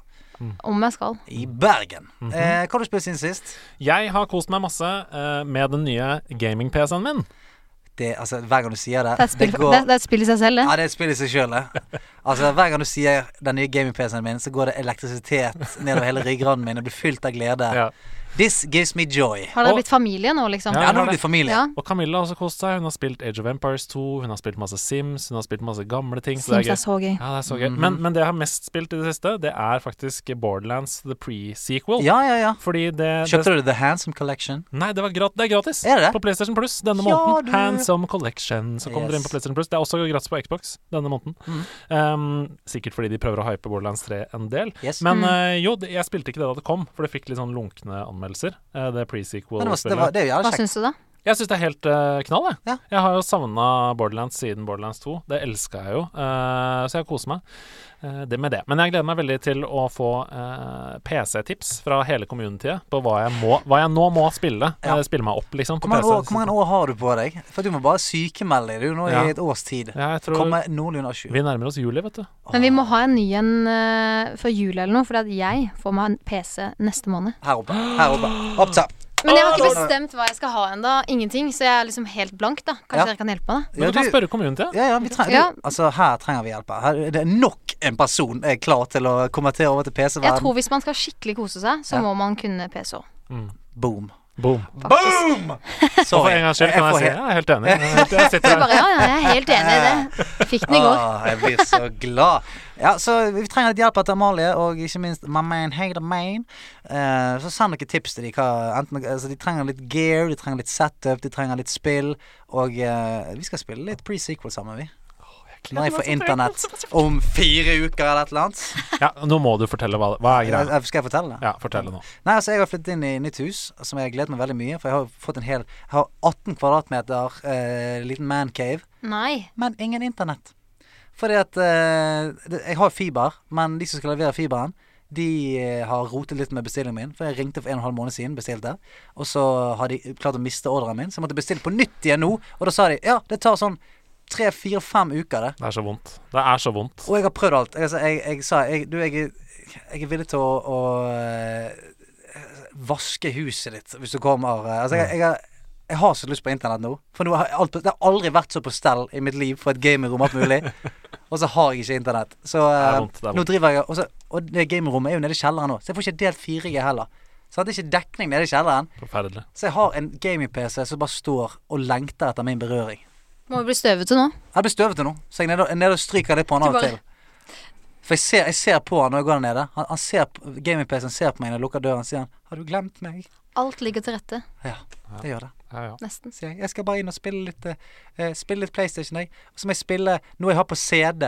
S1: Om jeg skal.
S2: I
S4: Mhm.
S2: Bergen. eh, hva har du spilt siden sist?
S4: Jeg har kost meg masse eh, med den nye gaming-PC-en min.
S2: Det, altså, hver gang du sier det
S1: Det er et spill, det, det er et spill i seg selv,
S2: Ja,
S1: det.
S2: det er et spill i seg sjøl, det. Altså, hver gang du sier 'den nye gaming-PC-en min', så går det elektrisitet nedover hele ryggraden min. Jeg blir fylt av glede.
S4: Ja.
S2: This gives me joy.
S1: Har dere
S4: Og-
S1: blitt familie nå, liksom?
S2: Ja,
S4: Ja,
S2: nå er
S4: det.
S2: det familie.
S1: Ja.
S4: Og Camilla har også kost seg. Hun har spilt Age of Empires 2, hun har spilt masse Sims, hun har spilt masse gamle ting. så det
S1: Sims
S4: er
S1: er
S4: gøy.
S1: så gøy.
S4: Ja, det er så gøy. Men, men det jeg har mest spilt i det siste, det er faktisk Borderlands the pre-sequel.
S2: Ja, ja, ja.
S4: Fordi det, det
S2: Kjøpte du The Handsome Collection?
S4: Nei, det, var grat det er gratis
S2: Er det det?
S4: på PlayStation Plus denne
S2: Ja,
S4: måneden.
S2: du.
S4: Handsome Collection. Så kommer dere inn på
S2: Yes.
S4: PlayStation Plus. Det er også gratis på Xbox denne måneden. Um, sikkert fordi de prøver å hype Borderlands 3 en del.
S2: Yes. Men,
S4: Men
S1: Mm.
S4: eh, jo, det, jeg spilte ikke det da det kom, for det fikk litt sånn lunkne anmeldelser.
S2: det, var,
S4: eh, det
S2: det, var,
S4: pre-sequel-spillet.
S2: det er jo
S1: Hva
S2: jævlig kjekt.
S1: syns du, da?
S4: Jeg syns det er helt eh, knall, jeg.
S2: Ja.
S4: Jeg har jo savna Borderlands siden Borderlands 2. Det elska jeg jo, eh, så jeg koser meg eh, det med det. Men jeg gleder meg veldig til å få eh, PC-tips fra hele communityet på hva jeg, må, hva jeg nå må spille.
S2: Ja.
S4: eh, spille meg opp, liksom,
S2: Hvor
S4: på
S2: mange,
S4: PC.
S2: år, hvor mange år har du på deg? For du må bare sykemelde deg du, nå
S4: Ja.
S2: i et års tid.
S4: Ja, jeg tror
S2: Komme noenlunde à jour.
S4: Vi nærmer oss juli, vet du.
S1: Men vi må ha en ny en eh, før jul eller noe, for at jeg får meg en PC neste måned.
S2: Her oppe. Her oppe. Opp top.
S1: Men jeg har ikke
S2: Åh!
S1: bestemt hva jeg skal ha ennå. Ingenting. Så jeg er liksom helt blank, da. Kanskje
S2: Ja.
S1: dere kan hjelpe meg, da.
S4: Men
S2: Ja,
S4: du kan
S2: du-
S4: spørre communityet.
S2: Ja, ja, vi trenger,
S1: Ja.
S2: Du, altså, her trenger vi hjelp. Her, det er nok en person er klar til å konvertere over til
S1: Jeg
S2: PC-verden.
S1: tror hvis man skal skikkelig kose seg, så
S2: Ja.
S1: må man kunne PC òg.
S2: Boom.
S4: Boom.
S2: Boom!
S4: Og for en gangs skyld kan jeg,
S2: får
S4: si
S2: helt-
S4: jeg er helt enig. Jeg, jeg, sitter her.
S1: Bare ja, ja, jeg er helt enig i det. Fikk den i går.
S2: Ah, jeg blir så glad. Ja, så vi trenger litt hjelp etter Amalie, og ikke minst my man, hey the man. Eh, så send noen tips til de hva enten, altså, De trenger litt gear, de trenger litt setup, de trenger litt spill. Og eh, vi skal spille litt pre-sequel sammen, vi. Når jeg får internett om fire uker eller et eller annet.
S4: Ja, nå må du fortelle hva, hva er greia.
S2: Eh, Skal jeg fortelle det?
S4: Ja, fortell det nå.
S2: Nei, altså jeg har flyttet inn i nytt hus, som jeg har gledet meg veldig mye. For jeg har fått en hel Jeg har 18 kvadratmeter eh, liten mancave,
S1: Nei.
S2: men ingen internett. Fordi at eh, det, Jeg har fiber, men de som skal levere fiberen, de eh, har rotet litt med bestillingen min. For jeg ringte for en og en halv måned siden, bestilte. Og så har de klart å miste ordren min, så jeg måtte bestille på nytt igjen nå. Og da sa de ja, det tar sånn tre, fire, fem uker, det.
S4: Det er så vondt. Det er så vondt.
S2: Og jeg har prøvd alt. Jeg, jeg, jeg sa jeg, du, jeg, er- jeg er villig til å, å eh, vaske huset ditt hvis du kommer. eh, Altså, jeg, jeg, har- jeg har så lyst på internett nå. For nå har jeg alt, på- det har aldri vært så på stell i mitt liv for et gamingrom alt mulig. Og så har jeg ikke internett. Så
S4: Det
S2: eh,
S4: er vondt. Det er
S2: nå
S4: vondt.
S2: driver jeg og, så, og det gamingrommet er jo nede i kjelleren nå, så jeg får ikke delt 4G heller. Så Så det er ikke dekning nede i kjelleren.
S4: Forferdelig.
S2: Så jeg har en gaming-PC som bare står og lengter etter min berøring.
S1: Må jo bli støvete nå.
S2: Jeg blir støvete nå, så jeg er nede, og- nede og stryker litt på han
S1: Du
S2: av og
S1: bare-
S2: til. For jeg ser, jeg ser på han når jeg går der nede. Han, han ser, på- Gaming-PC-en ser på meg når jeg lukker døren, sier han 'Har du glemt meg?'
S1: Alt ligger til rette,
S2: Ja, det gjør det.
S4: Ja, ja.
S1: nesten.
S2: Sier jeg. Jeg skal bare inn og spille litt, eh, eh, spille litt PlayStation, jeg. Og så må jeg spille noe jeg har på CD.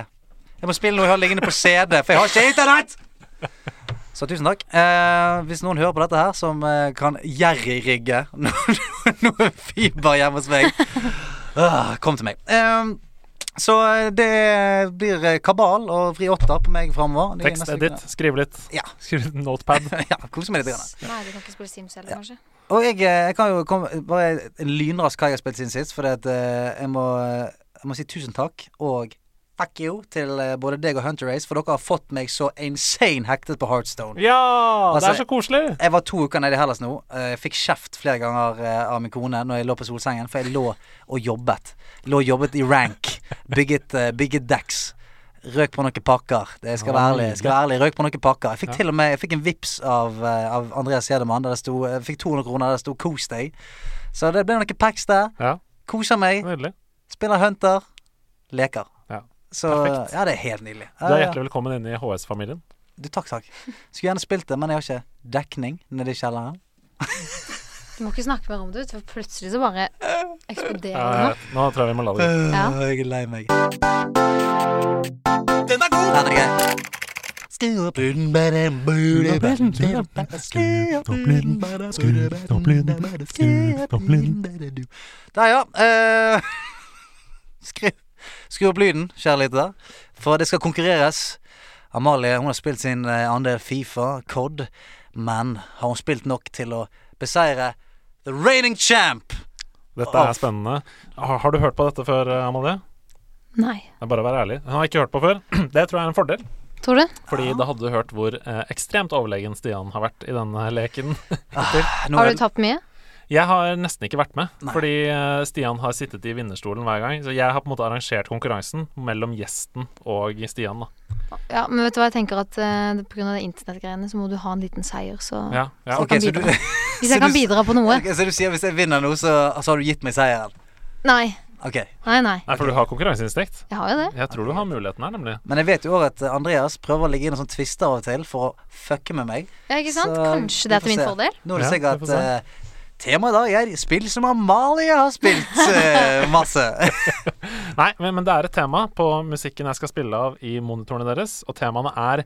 S2: Jeg må spille noe jeg har liggende på CD, for jeg har ikke internett! Så tusen takk. Eh, hvis noen hører på dette her, som eh, kan jerryrigge noe noe fiber hjemme hos meg, ah, kom til meg. Eh, så eh, det blir eh, kabal og vri åtter på meg framover.
S4: Tekst, edit, skriv litt.
S2: Ja.
S4: Skriv litt notepad.
S2: ja, kose meg litt. Grann.
S1: Nei, du kan ikke spille Sims heller, kanskje.
S2: Og jeg, eh, jeg kan jo komme bare en lynrask hva jeg har spilt siden sist, fordi at eh, jeg må, eh, jeg må si tusen takk og fuck you til eh, både deg og Hunter Race, for dere har fått meg så insane hektet på Heartstone.
S4: Ja! det
S2: Altså,
S4: er så koselig!
S2: Jeg var to uker nede i Hellas nå. eh, Jeg fikk kjeft flere ganger eh, av min kone når jeg lå på solsengen, for jeg lå og jobbet. Lå og jobbet i rank. Bygget, eh, bygget decks. Røk på noen pakker. Det jeg skal være ærlig. Jeg skal være ærlig. Røk på noen pakker. Jeg fikk til og med jeg fikk en vips av, eh, av Andreas Gjedemann. Der det sto, jeg fikk 200 kroner der det sto 'kos deg'. Så det ble noen packs der.
S4: Ja,
S2: Koser meg.
S4: Nydelig.
S2: Spiller Hunter. Leker.
S4: Ja.
S2: Så
S4: Perfekt.
S2: Ja, det er helt nydelig.
S4: Du er
S2: Ah, Ja, ja.
S4: hjertelig velkommen inn i HS-familien.
S2: Du, takk, takk. Skulle gjerne spilt det, men jeg har ikke dekning nede i kjelleren.
S1: Du må ikke snakke mer om det, vet du, for plutselig så bare
S2: Ah,
S1: eksploderer det.
S4: Eh, nå tror jeg vi må la det gå.
S1: Ja.
S2: Øh, Jeg er lei meg. Den er god! Den er grei. Skru opp lyden, bare burde bare- Skru opp lyden, bare burde bare- Skru opp lyden, bare du. Der, ja. eh, Skru, skru opp lyden, kjære lytter, for det skal konkurreres. Amalie hun har spilt sin eh, andel Fifa, COD, men har hun spilt nok til å beseire the reigning champ?
S4: Dette er spennende. Har, har du hørt på dette før, eh, Amalie?
S1: Nei.
S4: Det er bare å være ærlig. Hun har ikke hørt på før. Det tror jeg er en fordel.
S1: Tror du?
S4: Fordi da hadde du hørt hvor eh, ekstremt overlegen Stian har vært i denne leken.
S2: Ah, nå er
S1: Har
S2: det-
S1: du tapt mye?
S4: Jeg har nesten ikke vært med,
S2: Nei.
S4: fordi eh, Stian har sittet i vinnerstolen hver gang. Så jeg har på en måte arrangert konkurransen mellom gjesten og Stian, da.
S1: Ja, men vet du hva jeg tenker at eh, det- på grunn av det internettgreiene så må du ha en liten seier, så
S4: Ja, ja.
S1: Så
S2: Ok, så du,
S1: kan bidra. Hvis jeg
S2: så
S1: kan
S2: du-
S1: bidra på noe.
S2: Ok, så du sier hvis jeg vinner nå, så, så har du gitt meg seieren?
S1: Nei.
S2: Ok.
S1: Nei, nei.
S4: Nei, for du har konkurranseinstinkt.
S1: Jeg har jo det.
S4: Jeg tror du har muligheten her, nemlig.
S2: Men jeg vet jo også at eh, Andreas prøver å ligge inn og sånn twister av og til for å fucke med meg.
S1: Ja, ikke sant?
S2: Så,
S1: Kanskje det er
S2: vi får
S1: til min
S2: se.
S1: fordel.
S2: Nå er det
S4: Ja, vi
S2: sikkert
S4: får se.
S2: eh, Temaet i dag er spill som Amalie har spilt eh, masse.
S4: Nei, men, men det er et tema på musikken jeg skal spille av i monitorene deres, og temaene er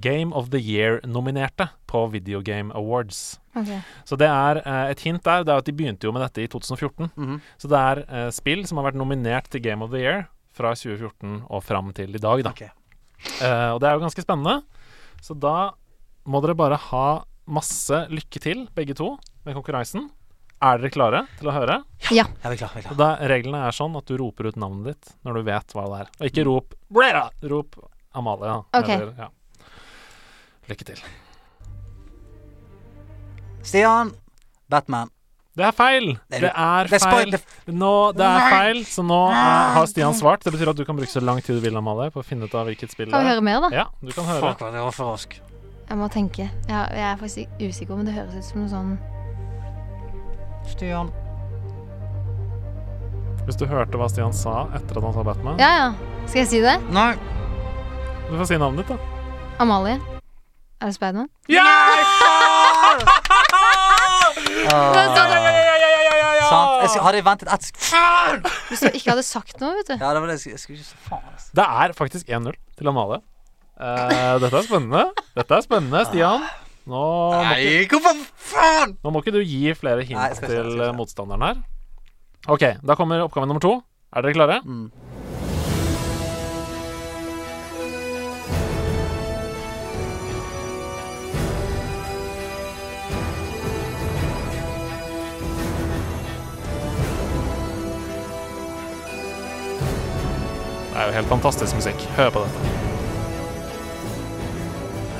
S4: Game of the Year-nominerte på Video Game Awards.
S1: Ok.
S4: Så det er eh, et hint der. Det er at De begynte jo med dette i 2014.
S2: Mhm.
S4: Så det er eh, spill som har vært nominert til Game of the Year fra 2014 og fram til i dag, da.
S2: Ok.
S4: Eh, og det er jo ganske spennende. Så da må dere bare ha masse lykke til, begge to, med konkurransen. Er dere klare til å høre?
S1: Ja.
S2: Ja, vi er klar, vi er
S4: Og
S2: klar.
S4: da, reglene er sånn at du roper ut navnet ditt når du vet hva det er. Og
S2: Mm.
S4: ikke rop Blera! Rop Amalie. da.
S1: Ok.
S4: Eller, ja. Lykke til.
S2: Stian. Batman.
S4: Det er feil!
S2: Det er-
S4: Det er
S2: Det er spoil-
S4: feil.
S2: det-
S4: Nå, det er feil, så nå er, har Stian svart. Det betyr at du kan bruke så lang tid du vil, Amalie, på å finne ut av hvilket spill
S1: Kan vi
S4: det er.
S1: høre mer, da?
S4: Ja, du kan høre.
S2: Fuck, hva det var for rask.
S1: Jeg må tenke. Ja, jeg er faktisk usikker, men det høres ut som noe sånn
S2: Stian.
S4: Hvis du hørte hva Stian sa etter at han sa Batman
S1: Ja, ja. Skal jeg si det?
S2: Nei.
S4: Du får si navnet ditt, da.
S1: Amalie. Er det Spiderman?
S2: Ah, sant. Jeg skal, hadde jeg ventet ett sekund
S4: Ah!
S1: Hvis du ikke hadde sagt noe, vet du.
S2: Ja, det var det jeg skulle- jeg skulle ikke si. Faen, altså.
S4: Det er faktisk 1-0 til Amalie. Eh, dette er spennende. Dette er spennende, Stian. Nå må, ikke,
S2: Nei, hvorfor faen?
S4: nå må ikke du gi flere hint
S2: Nei, jeg skal ikke, jeg skal
S4: til
S2: ikke.
S4: eh, motstanderen her. OK, da kommer oppgave nummer to. Er dere klare?
S2: Mm.
S4: Det er jo helt fantastisk musikk. Hør på dette.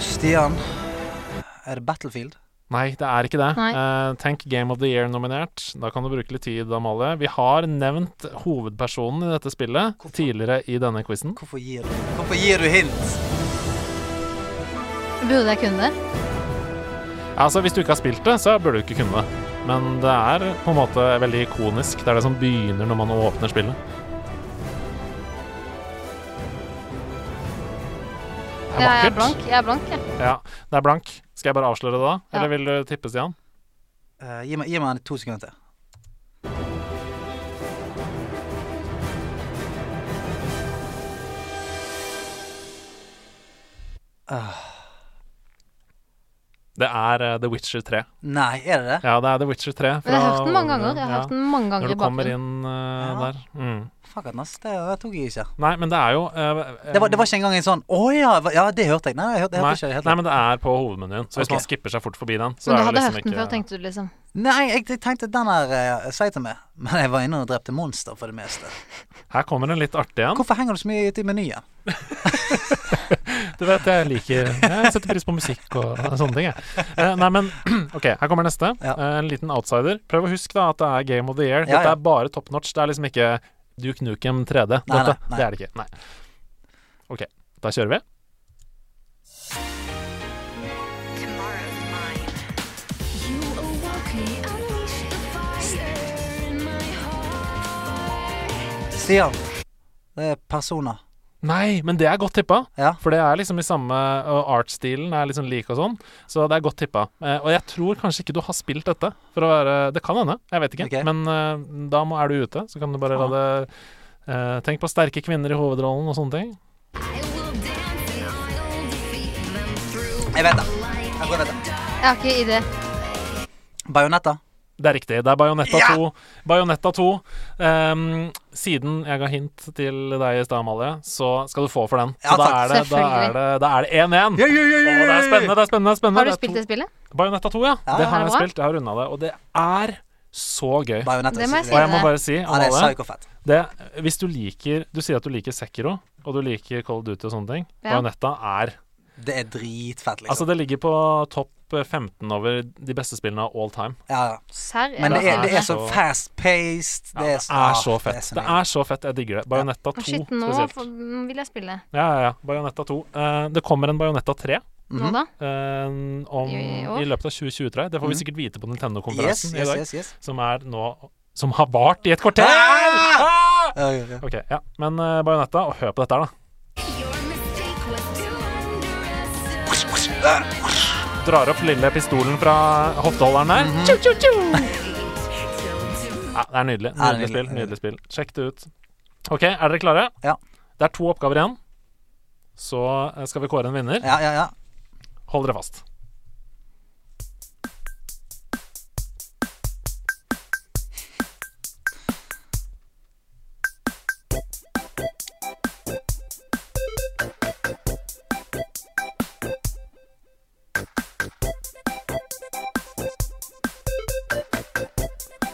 S2: Stian. Er det Battlefield?
S4: Nei, det er ikke det.
S1: Nei.
S4: Eh, tenk Game of the Year-nominert. Da kan du bruke litt tid, Amalie. Vi har nevnt hovedpersonen i dette spillet tidligere i denne quizen.
S2: Hvorfor gir du, Hvorfor gir du hint?
S1: Burde jeg kunne det?
S4: Altså, Hvis du ikke har spilt det, så burde du ikke kunne det. Men det er på en måte veldig ikonisk. Det er det som begynner når man åpner spillet. Det
S1: Ja,
S4: er
S1: jeg er
S4: vakkert.
S1: blank. Jeg er blank, jeg.
S4: Ja, det er blank. Skal jeg bare avsløre det da?
S1: Ja.
S4: Eller vil du tippe, Stian?
S2: Eh, gi, meg, gi meg to sekunder til.
S4: Det er eh, The Witcher 3.
S2: Nei, er det det?
S4: Ja, det er The Witcher 3.
S1: Men jeg har
S4: fra-
S1: hørt den mange ganger. Jeg har
S4: Ja,
S1: hørt den mange ganger
S4: Når
S1: i
S4: du kommer
S1: bakgrunnen.
S4: inn eh,
S2: Ja.
S4: der. Mm.
S2: Fuck at nas, det det tok jeg ikke.
S4: Nei, men det er jo eh,
S2: Det var, det
S4: em,
S2: var ikke engang en sånn Å ja, hva- ja, det hørte jeg. Nei, jeg hørte, jeg hørte ikke
S4: Nei,
S2: det helt.
S4: nei, men det er på hovedmenyen. Så hvis
S2: Ok.
S4: man skipper seg fort forbi den, så
S1: Men du
S4: er
S1: hadde
S4: det liksom
S1: hørt den
S4: ikke
S1: før, tenkte du liksom.
S2: Nei, jeg, jeg tenkte den der uh, seig til meg. Men jeg var inne og drepte monster for det meste.
S4: Her kommer en litt artig en.
S2: Hvorfor henger du så mye ute i menyen?
S4: Du vet, jeg liker Jeg setter pris på musikk og sånne ting, jeg. Eh, nei, men OK, her kommer neste.
S2: Ja.
S4: Eh, en liten outsider. Prøv å huske da at det er Game of the Year.
S2: Ja,
S4: Dette
S2: ja.
S4: er bare top notch. Det er liksom ikke Duke Nukem 3D. Dette,
S2: Nei, nei, nei.
S4: Det er det ikke. Nei. OK, da kjører vi.
S3: You awoke me, unleashed the fire in my heart.
S2: Stian. Det er personer.
S4: Nei, men det er godt tippa.
S2: Ja.
S4: For det er liksom i samme Og art-stilen er liksom lik og sånn. Så det er godt tippa. Eh, og jeg tror kanskje ikke du har spilt dette. For å være Det kan hende, jeg vet ikke.
S2: Ok.
S4: Men eh, da må, er du ute. Så kan du bare la det eh, Tenk på sterke kvinner i hovedrollen og sånne ting.
S3: I will dance and I'll defeat them through
S2: Jeg vet det.
S3: light
S2: Jeg går dette.
S1: Jeg har ikke idé.
S2: Bajonetta.
S4: Det er riktig. Det er Bajonetta
S2: Ja!
S4: 2. Bayonetta 2. Ehm, siden jeg ga hint til deg i stad, Amalie, så skal du få for den.
S2: Ja,
S4: så da
S2: takk.
S4: er det da er det, da er det 1-1.
S2: ja, ja, ja,
S4: Å, det er spennende, det er spennende. det er spennende.
S1: Har du
S4: Det er
S1: spilt det spillet?
S4: to- Bayonetta 2, ja.
S2: Ja,
S4: Det
S1: er
S4: har
S1: det
S4: jeg
S1: bra?
S4: spilt. Jeg har runda det. Og det er så gøy.
S2: Bajonetta.
S1: Det må jeg
S4: Og jeg
S1: si
S4: må
S1: det.
S4: bare si,
S2: Ja, det er
S4: Amalie,
S2: psykofett.
S4: det, hvis du liker Du sier at du liker Sekiro, og du liker Call of Duty og sånne ting.
S1: Ja.
S4: Bajonetta er
S2: Det er dritfett, liksom.
S4: Altså, det ligger på topp 15 over de beste spillene av all time.
S2: ja, ja.
S1: Serr?
S2: Men det
S4: det
S2: er, det
S4: er
S2: er så
S4: så-
S2: fast-paced. Ah,
S4: Ja, det er så fett. Det
S2: nydelig.
S4: er så fett. Jeg digger det. Bajonetta 2
S1: Shit, nå
S4: spesielt.
S1: får- mm, vil jeg spille.
S4: Ja, ja, ja. Bajonetta 2. Eh, det kommer en Bajonetta 3
S1: Nå da?
S4: eh, om,
S1: I- i år?
S4: i, løpet av 2023. Det får vi
S2: Mhm.
S4: sikkert vite på
S2: Yes,
S4: Nintendo-konferansen i
S2: yes,
S4: dag,
S2: yes. yes.
S4: som er nå Som har vart i et kvarter!
S2: Ah!
S4: Ah!
S2: Ja, ja, ja.
S4: OK, ja. Men eh, Bajonetta, og hør på dette her, da.
S3: Your mistake was to underestimate
S4: Drar opp lille pistolen fra hofteholderen der.
S2: Mhm.
S4: Tju, tju, tju!
S3: till
S4: Ja, det er nydelig.
S2: Ja, det er nydelig.
S4: Nydelig spill. Nydelig spill. Sjekk det ut. OK, er dere klare?
S2: Ja.
S4: Det er to oppgaver igjen. Så eh, skal vi kåre en vinner.
S2: ja, ja, ja.
S4: Hold dere fast.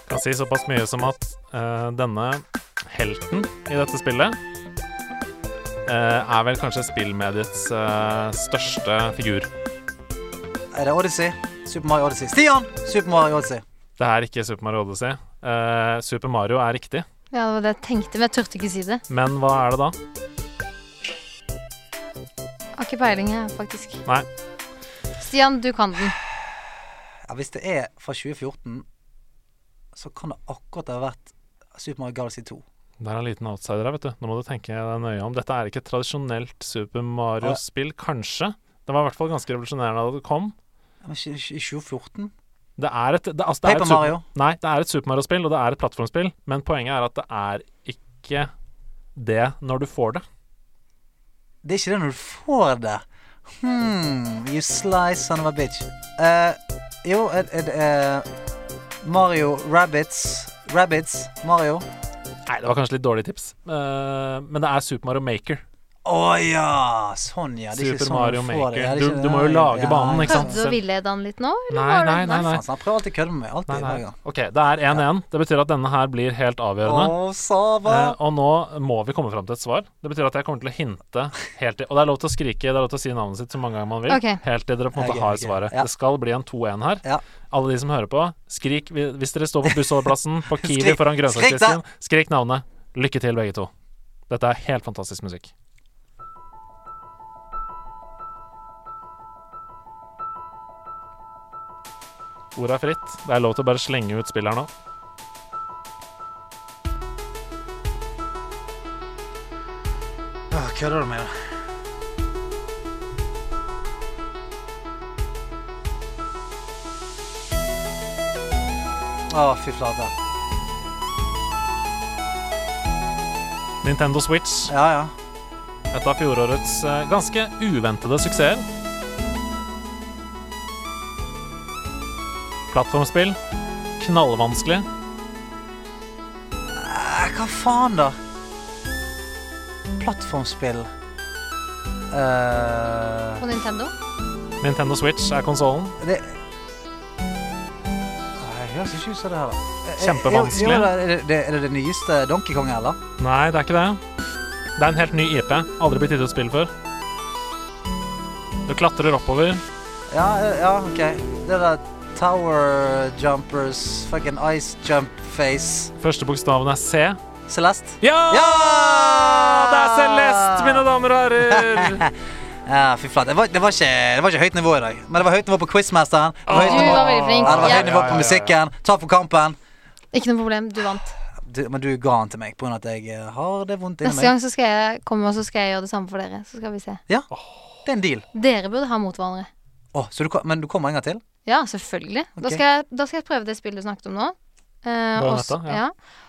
S4: Kan si såpass mye som at eh, denne helten i dette spillet eh, er vel kanskje spillmediets eh, største figur.
S2: Er det Odyssey? Super Mario Odyssey. Stian! Super Mario Odyssey.
S4: Det er ikke Super Mario Odyssey. Eh, Super Mario er riktig,
S1: Ja, det var det jeg tenkte, men jeg turte ikke si det.
S4: men hva er det da?
S1: Jeg har ikke peiling, jeg, faktisk.
S4: Nei.
S1: Stian, du kan den.
S2: Ja, hvis det er fra 2014, så kan det akkurat ha vært Super Mario Galaxy 2.
S4: Det er en liten outsider her, vet du. Nå må du tenke deg nøye om. Dette er ikke et tradisjonelt Super Mario-spill, kanskje. Det var i hvert fall ganske revolusjonerende da det kom.
S2: Ja, men ikke- ikke- 2014?
S4: Det er et, det, altså, det er
S2: Paper
S4: et Super-
S2: Mario.
S4: Nei, det er et Super Mario-spill, og det er et plattformspill, men poenget er at det er ikke det når du får det.
S2: Det er ikke det når du får det. Hmm, you slice son of a bitch. Eh, jo, er, er det eh, Mario Rabbits Rabbits Mario.
S4: Nei, det var kanskje litt dårlig tips, Eh, men det er Super Mario Maker.
S2: Å ja! Sånn, ja. Det er ikke
S4: Super
S2: sånn
S4: Mario
S2: du får det. Ja,
S4: Maker.
S2: det er
S4: Du,
S2: ikke-
S4: du må jo
S2: ja,
S4: lage
S2: ja,
S4: banen,
S2: ja.
S4: ikke sant?
S1: Prøvde du å ville den litt nå? eller
S4: Nei,
S1: var det-
S4: nei, nei, nei.
S2: Faen, så Han prøver alltid å kødde med meg. Alltid.
S4: Nei,
S2: hver
S4: nei.
S2: gang.
S4: OK, det er 1-1. Det betyr at denne her blir helt avgjørende.
S2: Å, Sava!
S4: Eh, og nå må vi komme fram til et svar. Det betyr at jeg kommer til å hinte helt til Og det er lov til å skrike, det er lov til å si navnet sitt så mange ganger man vil.
S1: Ok.
S4: Helt til dere på en måte
S2: Ok,
S4: har
S2: ok.
S4: svaret.
S2: Ja.
S4: Det skal bli en 2-1 her.
S2: Ja.
S4: Alle de som hører på, skrik vi- hvis dere står på bussholdeplassen, på Kiwi
S2: Skrik-
S4: foran
S2: skrik da!
S4: grønnsaksdisken. Skrik navnet. Lykke til, begge to. Dette er helt fantastisk musikk. Ordet er fritt. Det er lov til å bare slenge ut spill her nå.
S2: Åh, Kødder du med meg? Å, fy flate.
S4: Nintendo Switch.
S2: Ja, ja.
S4: Et av fjorårets eh, ganske uventede suksesser. Plattformspill. Knallvanskelig.
S2: Eh, Hva faen, da? Plattformspill Eh,
S1: På Nintendo.
S4: Nintendo Switch er konsollen.
S2: Det Nei, det høres ikke ut som det her, da. Eh, eh,
S4: Kjempevanskelig.
S2: jo, da, Er det- det, er det det nyeste Donkey Kong, eller?
S4: Nei, det er ikke det. Det er en helt ny IP. Aldri blitt gitt ut spill før. Du klatrer oppover.
S2: Ja, eh, ja, OK. Det der Tower Jumpers, fucking Ice Jump Face
S4: Første bokstaven er C.
S2: Celeste?
S4: Ja!
S2: Ja!
S4: Det er Celeste, mine damer og herrer!
S2: Ja, fy flate. Det, var- det, var ikke- det var ikke høyt nivå i dag. Men det var høyt nivå på quizmasteren. Det var
S1: Du
S2: høyt nivå,
S1: var veldig flink.
S2: ja, det var
S1: Ja.
S2: høyt nivå på musikken. Takk for kampen.
S1: Ikke noe problem, du vant.
S2: Du, men du ga den til meg pga. at jeg eh, har det vondt inni
S1: Neste
S2: meg.
S1: gang så skal jeg komme og så skal jeg gjøre det samme for dere. Så skal vi se.
S2: Det er en deal.
S1: Dere burde ha mot hverandre.
S2: Åh, så du, kom- men du kommer en gang til?
S1: Ja, selvfølgelig. Da,
S2: Ok.
S1: skal jeg, da skal jeg prøve det spillet du snakket om nå. Eh, og, s-
S4: Bayonetta, ja.
S1: ja.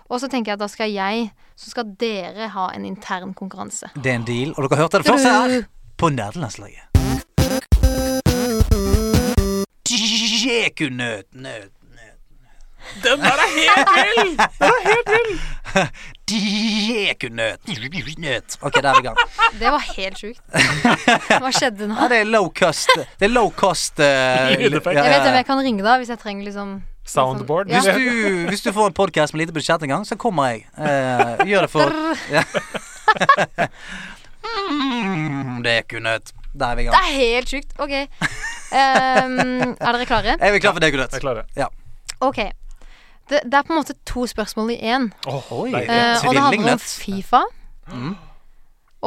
S1: og så tenker jeg at da skal jeg, så skal dere ha en intern konkurranse.
S2: Det er en deal. Og dere hørte det først her på Nerdelandslaget. Jekunøt, nøt, nøt.
S4: Den der er helt vill!
S2: Jekunøt, nøt. OK, der er vi i gang.
S1: Det var helt sjukt. Hva skjedde nå?
S2: Ja, det er low cost. Det er low cost eh,
S4: Lydeffekt.
S2: ja,
S1: Jeg vet
S2: ja,
S1: hvem
S2: ja.
S1: jeg kan ringe da, hvis jeg trenger liksom
S4: Soundboard.
S1: Ja.
S2: Hvis du, hvis du får en podkast med lite budsjett en gang, så kommer jeg. Eh, gjør det for ja. mm, Det er kunøt. Der er vi i
S1: Det
S2: gang.
S1: er helt sjukt. OK. Ehm, er dere klare?
S2: Er vi klar for det, kunøt?
S4: Jeg klarer det.
S1: OK. Det, det er på en måte to spørsmål i én.
S4: Åh,
S2: Oi.
S4: deilig.
S1: Eh, og det handler om
S2: Tvillingnett.
S1: Fifa.
S2: Mm.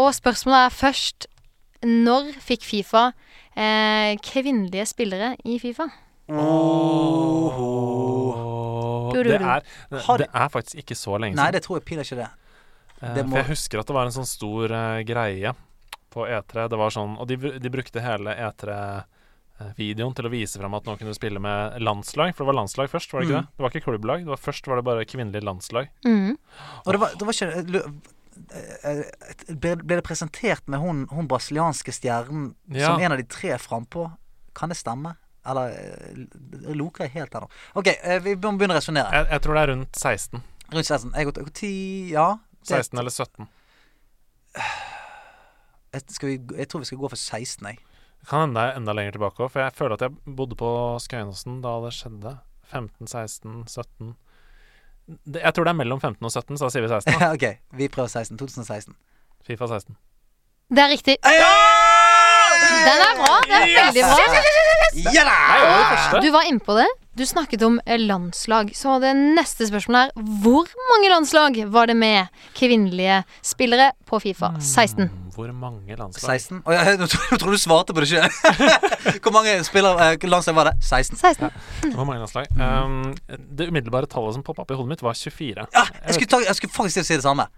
S1: Og spørsmålet er først Når fikk Fifa eh, kvinnelige spillere i Fifa?
S4: Åh, Det er,
S2: Har-
S4: det er faktisk ikke så lenge
S2: Nei,
S4: siden.
S2: det tror jeg pinadø ikke det.
S4: Eh,
S2: det må-
S4: For jeg husker at det var en sånn stor eh, greie på E3. Det var sånn, og de, br- de brukte hele E E3-videoen til å vise frem at nå kunne du spille med landslag. For det var landslag først, var det ikke
S2: Mm.
S4: det? Det var ikke klubblag. Det var først var det bare kvinnelig landslag.
S1: Mhm.
S2: Og det var, det var ikke jeg lu- eh, ble, ble det presentert med hun, hun brasilianske stjernen
S4: Ja.
S2: som en av de tre frampå? Kan det stemme? Eller eh, loker jeg helt her nå? OK, eh, vi må begynne å resonnere.
S4: Jeg, jeg tror det er rundt 16.
S2: Rundt 16. Jeg går til 10 Ja. det-
S4: 16 eller 17.
S2: Jeg, skal vi, jeg tror vi skal gå for 16, jeg.
S4: Det kan hende det er enda lenger tilbake òg, for jeg føler at jeg bodde på Skøyenåsen da det skjedde. 15, 16, 17 det, Jeg tror det er mellom 15 og 17, så da sier vi 16. Da.
S2: OK, vi prøver 16. 2016.
S4: Fifa 16.
S1: Det er riktig. Den er bra. Det er veldig bra.
S2: Ja da!
S4: Det var det første.
S1: Du var innpå det. Du snakket om eh, landslag. Så det neste spørsmålet er hvor mange landslag var det med kvinnelige spillere på
S4: Mm.
S1: Fifa? 16.
S4: Hvor mange landslag?
S2: 16? Å, ja, nå tro- nå tror du du svarte på det sjøl. Hvor mange spillere eh, landslag var det? 16?
S1: 16.
S4: Hvor mange landslag? Um, det umiddelbare tallet som poppa opp i hodet mitt, var 24.
S2: Ja,
S4: Jeg
S2: jeg skulle, ta, jeg skulle faktisk til å si det samme.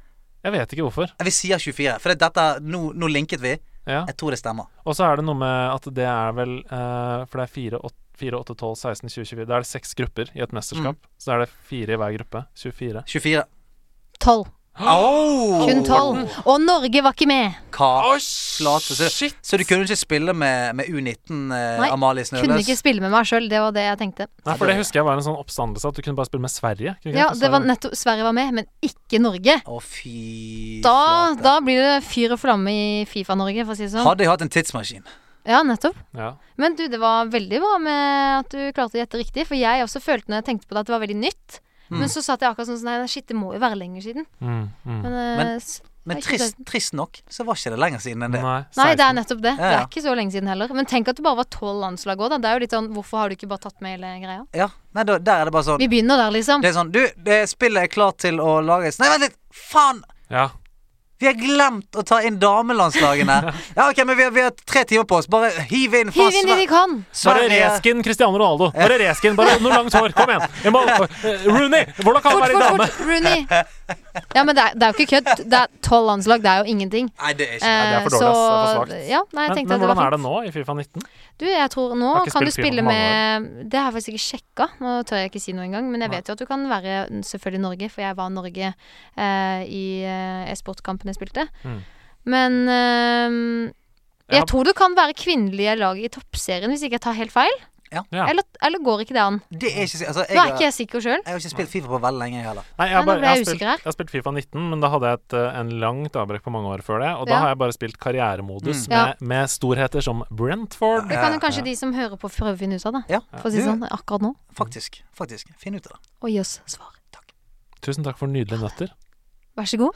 S4: Jeg vet ikke hvorfor.
S2: Vi sier 24, for det, dette nå, nå linket vi.
S4: Ja.
S2: Jeg tror det stemmer.
S4: Og så er det noe med at det er vel eh, For det er 4, 8, 4, 8, 12, 16, 20, 24 Da er det seks grupper i et mesterskap. Så er det fire i hver gruppe. 24.
S2: 24.
S1: 12.
S2: Oh!
S1: Kun 12. Og Norge var ikke med.
S2: Hva? flate,
S4: shit!
S2: så- Så du kunne ikke spille med, med U19, eh,
S1: Nei,
S2: Amalie
S1: Kunne ikke
S2: Snøløs?
S1: spille med meg sjøl. Det var det jeg tenkte.
S4: Nei, for det husker jeg var en sånn oppstandelse at du kunne bare spille med Sverige. Kunne ikke
S1: Ja,
S4: for
S1: det var
S4: Sverige-
S1: nettopp Sverige var med, men ikke Norge.
S2: Å, fy
S1: Da,
S2: flate.
S1: da blir det fyr og flamme i Fifa-Norge, for å si det sånn.
S2: Hadde jeg hatt en tidsmaskin.
S1: Ja, nettopp.
S4: ja.
S1: Men du, det var veldig bra med at du klarte å gjette riktig, for jeg også følte når jeg tenkte på det, at det var veldig nytt. Men så satt jeg akkurat sånn sånn Nei, shit, det må jo være lenger siden.
S4: Mm, mm.
S1: Men, eh,
S2: Men-
S1: s-
S2: Men
S1: Nei, ikke
S2: trist, trist nok, så var ikke det lenger siden enn det.
S4: Nei,
S1: Nei, det er
S4: 16.
S1: nettopp det.
S2: Ja,
S1: Det
S2: ja.
S1: er ikke så lenge siden heller. Men tenk at det bare var tolv landslag òg, da. Det er jo litt sånn Hvorfor har du ikke bare tatt med hele greia?
S2: Ja, nei, da, Der er det bare sånn
S1: Vi begynner der, liksom.
S2: Det er sånn Du, det spillet er klart til å lages Nei, vent litt! Faen!
S4: Ja.
S2: Vi har glemt å ta inn damelandslagene. Ja, ok, men vi har, vi har tre timer på oss. Bare hiv inn fra
S1: Hiv inn de
S2: Sve-
S1: de kan.
S4: Bare
S2: Sverige.
S4: reskin Cristiano Ronaldo. Bare reskin, bare noe langt hår. Kom igjen. Jeg må, eh, Rooney, hvordan kan han
S1: Fort,
S4: være
S1: fort,
S4: dame?
S1: fort. Rooney. Ja, men det er, det er jo ikke kødd. Det er tolv landslag. Det er jo ingenting.
S2: Nei, det er ikke
S1: Eh,
S4: det er for dårlig, ass. Det er for svakt.
S1: ja, nei, jeg
S4: Men,
S1: tenkte
S4: men
S1: at det
S4: hvordan
S1: var
S4: er
S1: fint.
S4: det nå i Fifa 19?
S1: Du, jeg tror nå
S4: Jeg har ikke
S1: kan du
S4: spilt
S1: spille
S4: FIFA på mange
S1: med Det har jeg faktisk ikke sjekka, nå tør jeg ikke si noe engang. Men jeg
S4: Nei.
S1: vet jo at du kan være selvfølgelig Norge, for jeg var Norge eh, i eh, e-sportkampen jeg spilte.
S4: Mm.
S1: Men eh,
S4: Ja.
S1: jeg tror du kan være kvinnelige lag i toppserien, hvis ikke jeg tar helt feil.
S2: Ja.
S4: Ja.
S1: Eller, eller går ikke det an?
S2: Det er ikke altså, jeg,
S1: Nå er ikke
S2: har-
S1: jeg sikker sjøl.
S2: jeg har ikke spilt Fifa på veldig lenge, jeg heller.
S4: Nei, jeg, har
S1: Nei, nå
S4: bare,
S1: ble
S4: jeg, har
S1: jeg
S4: spilt,
S1: usikker her.
S4: jeg har spilt Fifa 19, men da hadde jeg et, eh, en langt avbrekk på mange år før det. Og da
S1: Ja.
S4: har jeg bare spilt karrieremodus
S1: Mm. Ja.
S4: med, med storheter som Brentford.
S1: Det kan jo kanskje de som hører på, prøve å finne ut av det.
S2: Ja,
S1: For å si
S2: du-
S1: det sånn akkurat nå.
S2: Faktisk. faktisk Finn ut av det.
S1: Og gi oss svar.
S4: Tusen takk for nydelige nøtter.
S1: Vær så god.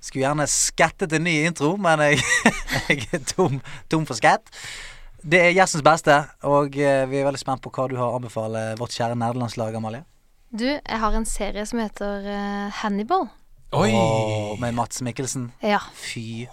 S2: Skulle gjerne skattet en ny intro, men jeg, jeg er tom, tom for skatt. Det er gjestens beste, og eh, vi er veldig spent på hva du har å anbefale vårt kjære nerdelandslag, Amalie.
S1: Du, jeg har en serie som heter eh, Hannibal.
S2: Åh, med Mats Mikkelsen.
S1: Ja.
S2: Fy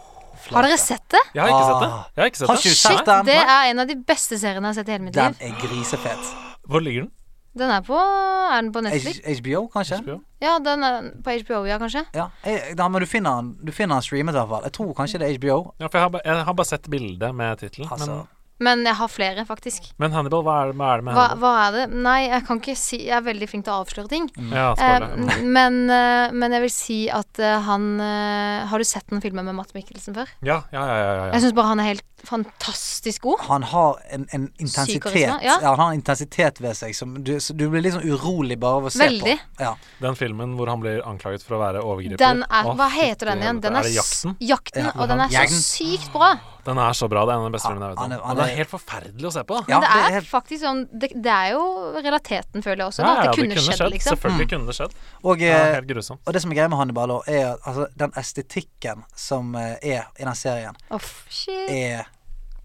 S2: flate.
S1: Har dere sett det?
S4: Jeg har ikke sett det. Jeg har ikke
S2: Ah. Har ikke
S4: sett det.
S2: du sett
S1: Shit,
S2: den?
S1: det er en av de beste seriene jeg har sett i hele mitt
S2: Den
S1: liv.
S2: er grisefet.
S4: Hvor ligger den?
S1: Den er på Er den på Netflix?
S2: H- HBO, kanskje?
S4: HBO?
S1: Ja, den er på HBO, ja, kanskje.
S2: Ja, jeg, da, men du finner han Du finner han streamet, i hvert fall. Jeg tror kanskje det er HBO.
S4: Ja, for jeg har, ba- jeg har bare sett bildet med tittelen.
S2: Altså,
S1: Men jeg har flere, faktisk.
S4: Men, men Hannibal, hva er, hva er det med
S1: Hva,
S4: Hannibal?
S1: hva er det? Nei, jeg kan ikke si Jeg er veldig flink til å avsløre ting.
S4: Ja,
S1: Eh,
S4: spoiler. Mm.
S1: men, eh, men jeg vil si at eh, han eh, Har du sett noen filmer med Matt Mikkelsen før?
S4: ja, ja, ja, ja, ja.
S1: Jeg syns bare han er helt fantastisk god.
S2: han har en, en intensitet
S1: karisma, ja.
S2: han har en intensitet ved seg som du, så du blir liksom urolig bare av å se
S1: Veldig.
S2: på. Ja.
S4: Den filmen hvor han blir anklaget for å være overgriper.
S1: Den er,
S4: Å,
S1: hva
S4: fytti
S1: heter den igjen?
S4: helvete.
S1: Den er,
S4: er det Jakten?
S1: s- jakten
S2: Ja,
S1: og den er så
S2: Jakten.
S1: sykt bra.
S4: Den er så bra. Det er en av de beste filmene jeg vet
S2: Ah, han
S4: om.
S2: er- han
S4: Og det
S2: er-
S4: er helt forferdelig å se på. da.
S2: Ja,
S1: Men det
S2: det
S1: er,
S2: er helt-
S1: faktisk sånn det, det er jo realiteten, føler jeg også,
S4: Ja,
S1: da, at
S4: ja,
S1: det kunne, skjedd, liksom.
S4: Selvfølgelig
S2: Mm.
S4: kunne det skjedd.
S2: Og,
S4: Det er
S2: eh,
S4: helt grusomt.
S2: og det som er greia med Hannibal, også, er at altså, den estetikken som eh, er i den serien,
S1: Uff, shit.
S2: er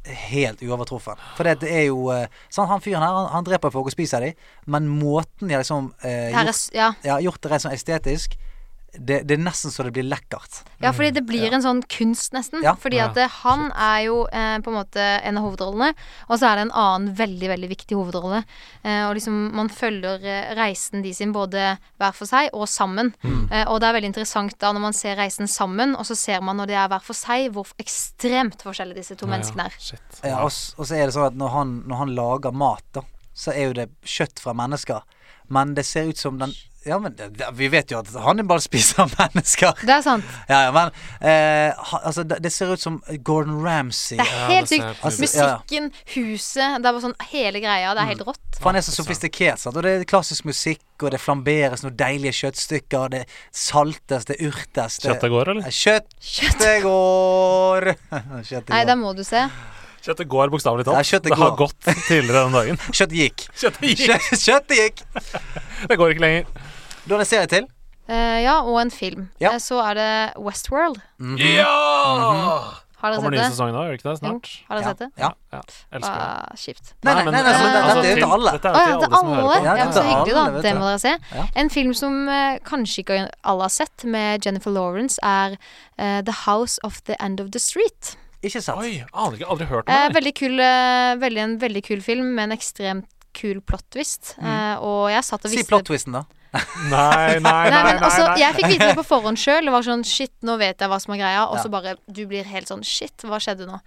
S2: helt uovertruffen. For det er jo eh, sånn, Han fyren her, han, han dreper folk og spiser dem, men måten de har liksom eh,
S1: Her er,
S2: gjort,
S1: s- ja.
S2: ja, gjort det rent sånn estetisk, det, det er nesten så det blir lekkert.
S1: ja, fordi det blir en sånn kunst, nesten.
S2: Ja.
S1: Fordi at eh, han er jo eh, på en måte en av hovedrollene, og så er det en annen veldig, veldig viktig hovedrolle. Eh, og liksom man følger eh, reisen de sin både hver for seg og sammen. Eh, og det er veldig interessant da når man ser reisen sammen, og så ser man når de er hver for seg, hvor ekstremt forskjellige disse to menneskene er.
S4: Shit.
S2: Ja, Eh, og, s- og så er det sånn at når han, når han lager mat, da, så er jo det kjøtt fra mennesker. Men det ser ut som den Ja, men det, det, vi vet jo at Hannibal spiser mennesker.
S1: Det er sant.
S2: Ja, ja, men eh, ha, altså, det, det ser ut som Gordon Ramsay.
S1: Det
S4: Ja,
S1: er
S4: det
S1: helt
S4: ser
S1: sykt.
S4: helt nydelig ut.
S1: Musikken, huset, det er bare sånn hele greia. Det er helt rått.
S2: For han er så sofistikert. Sant? Og det er klassisk musikk, og det flamberes noen deilige kjøttstykker. Det saltes, det urtes. det-
S4: Kjøttet går, eller?
S2: Eh, Kjøtt
S1: Kjøtt.
S2: det går! Kjøttet
S1: Nei,
S2: går.
S1: det må du se.
S4: Kjøttet går bokstavelig
S2: Ja,
S4: talt.
S2: kjøttet
S4: det har
S2: går.
S4: gått tidligere den dagen.
S2: Kjøttet gikk.
S4: Kjøttet gikk.
S2: Kjø- Kjøttet gikk.
S4: Det går ikke lenger.
S2: Du har en serie til?
S1: Eh, ja, og en film.
S2: Ja.
S1: Eh, så er det Westworld.
S4: Ja!
S1: Har dere
S4: Mhm. Kommer ny
S1: sett det?
S4: sesong nå, gjør det ikke det? Snart.
S1: Jo, har dere
S2: Ja.
S1: sett det?
S2: ja.
S4: Ja. Elsker det.
S1: Ah, Kjipt.
S2: Nei, nei, nei, nei,
S1: men
S4: altså,
S1: dette
S2: er jo til alle.
S4: Dette er
S1: Å
S4: jo
S1: ja,
S4: til alle som hører på.
S2: Ja,
S1: Ja, men
S2: det er
S1: så
S2: til
S1: hyggelig,
S2: alle,
S1: da.
S2: vet
S1: Det
S2: du.
S1: må dere se.
S2: Ja.
S1: En film som eh, kanskje ikke alle har sett, med Jennifer Lawrence, er eh, The House of the End of the Street.
S2: Ikke sant?
S4: Oi, aner ikke. Aldri hørt
S1: Eh,
S4: om det.
S1: veldig kul, eh, veldig, en veldig kul film med en ekstremt kul plot twist. Eh, og jeg satt
S2: Mm.
S1: og
S2: Si
S1: visste
S2: plot-twisten, da.
S4: Nei, nei, nei.
S1: Nei, men altså, også,
S4: nei, nei.
S1: Jeg fikk vite det på forhånd sjøl. Det var sånn shit, nå vet jeg hva som er greia. Og
S2: Ja.
S1: så bare du blir helt sånn shit, hva skjedde nå?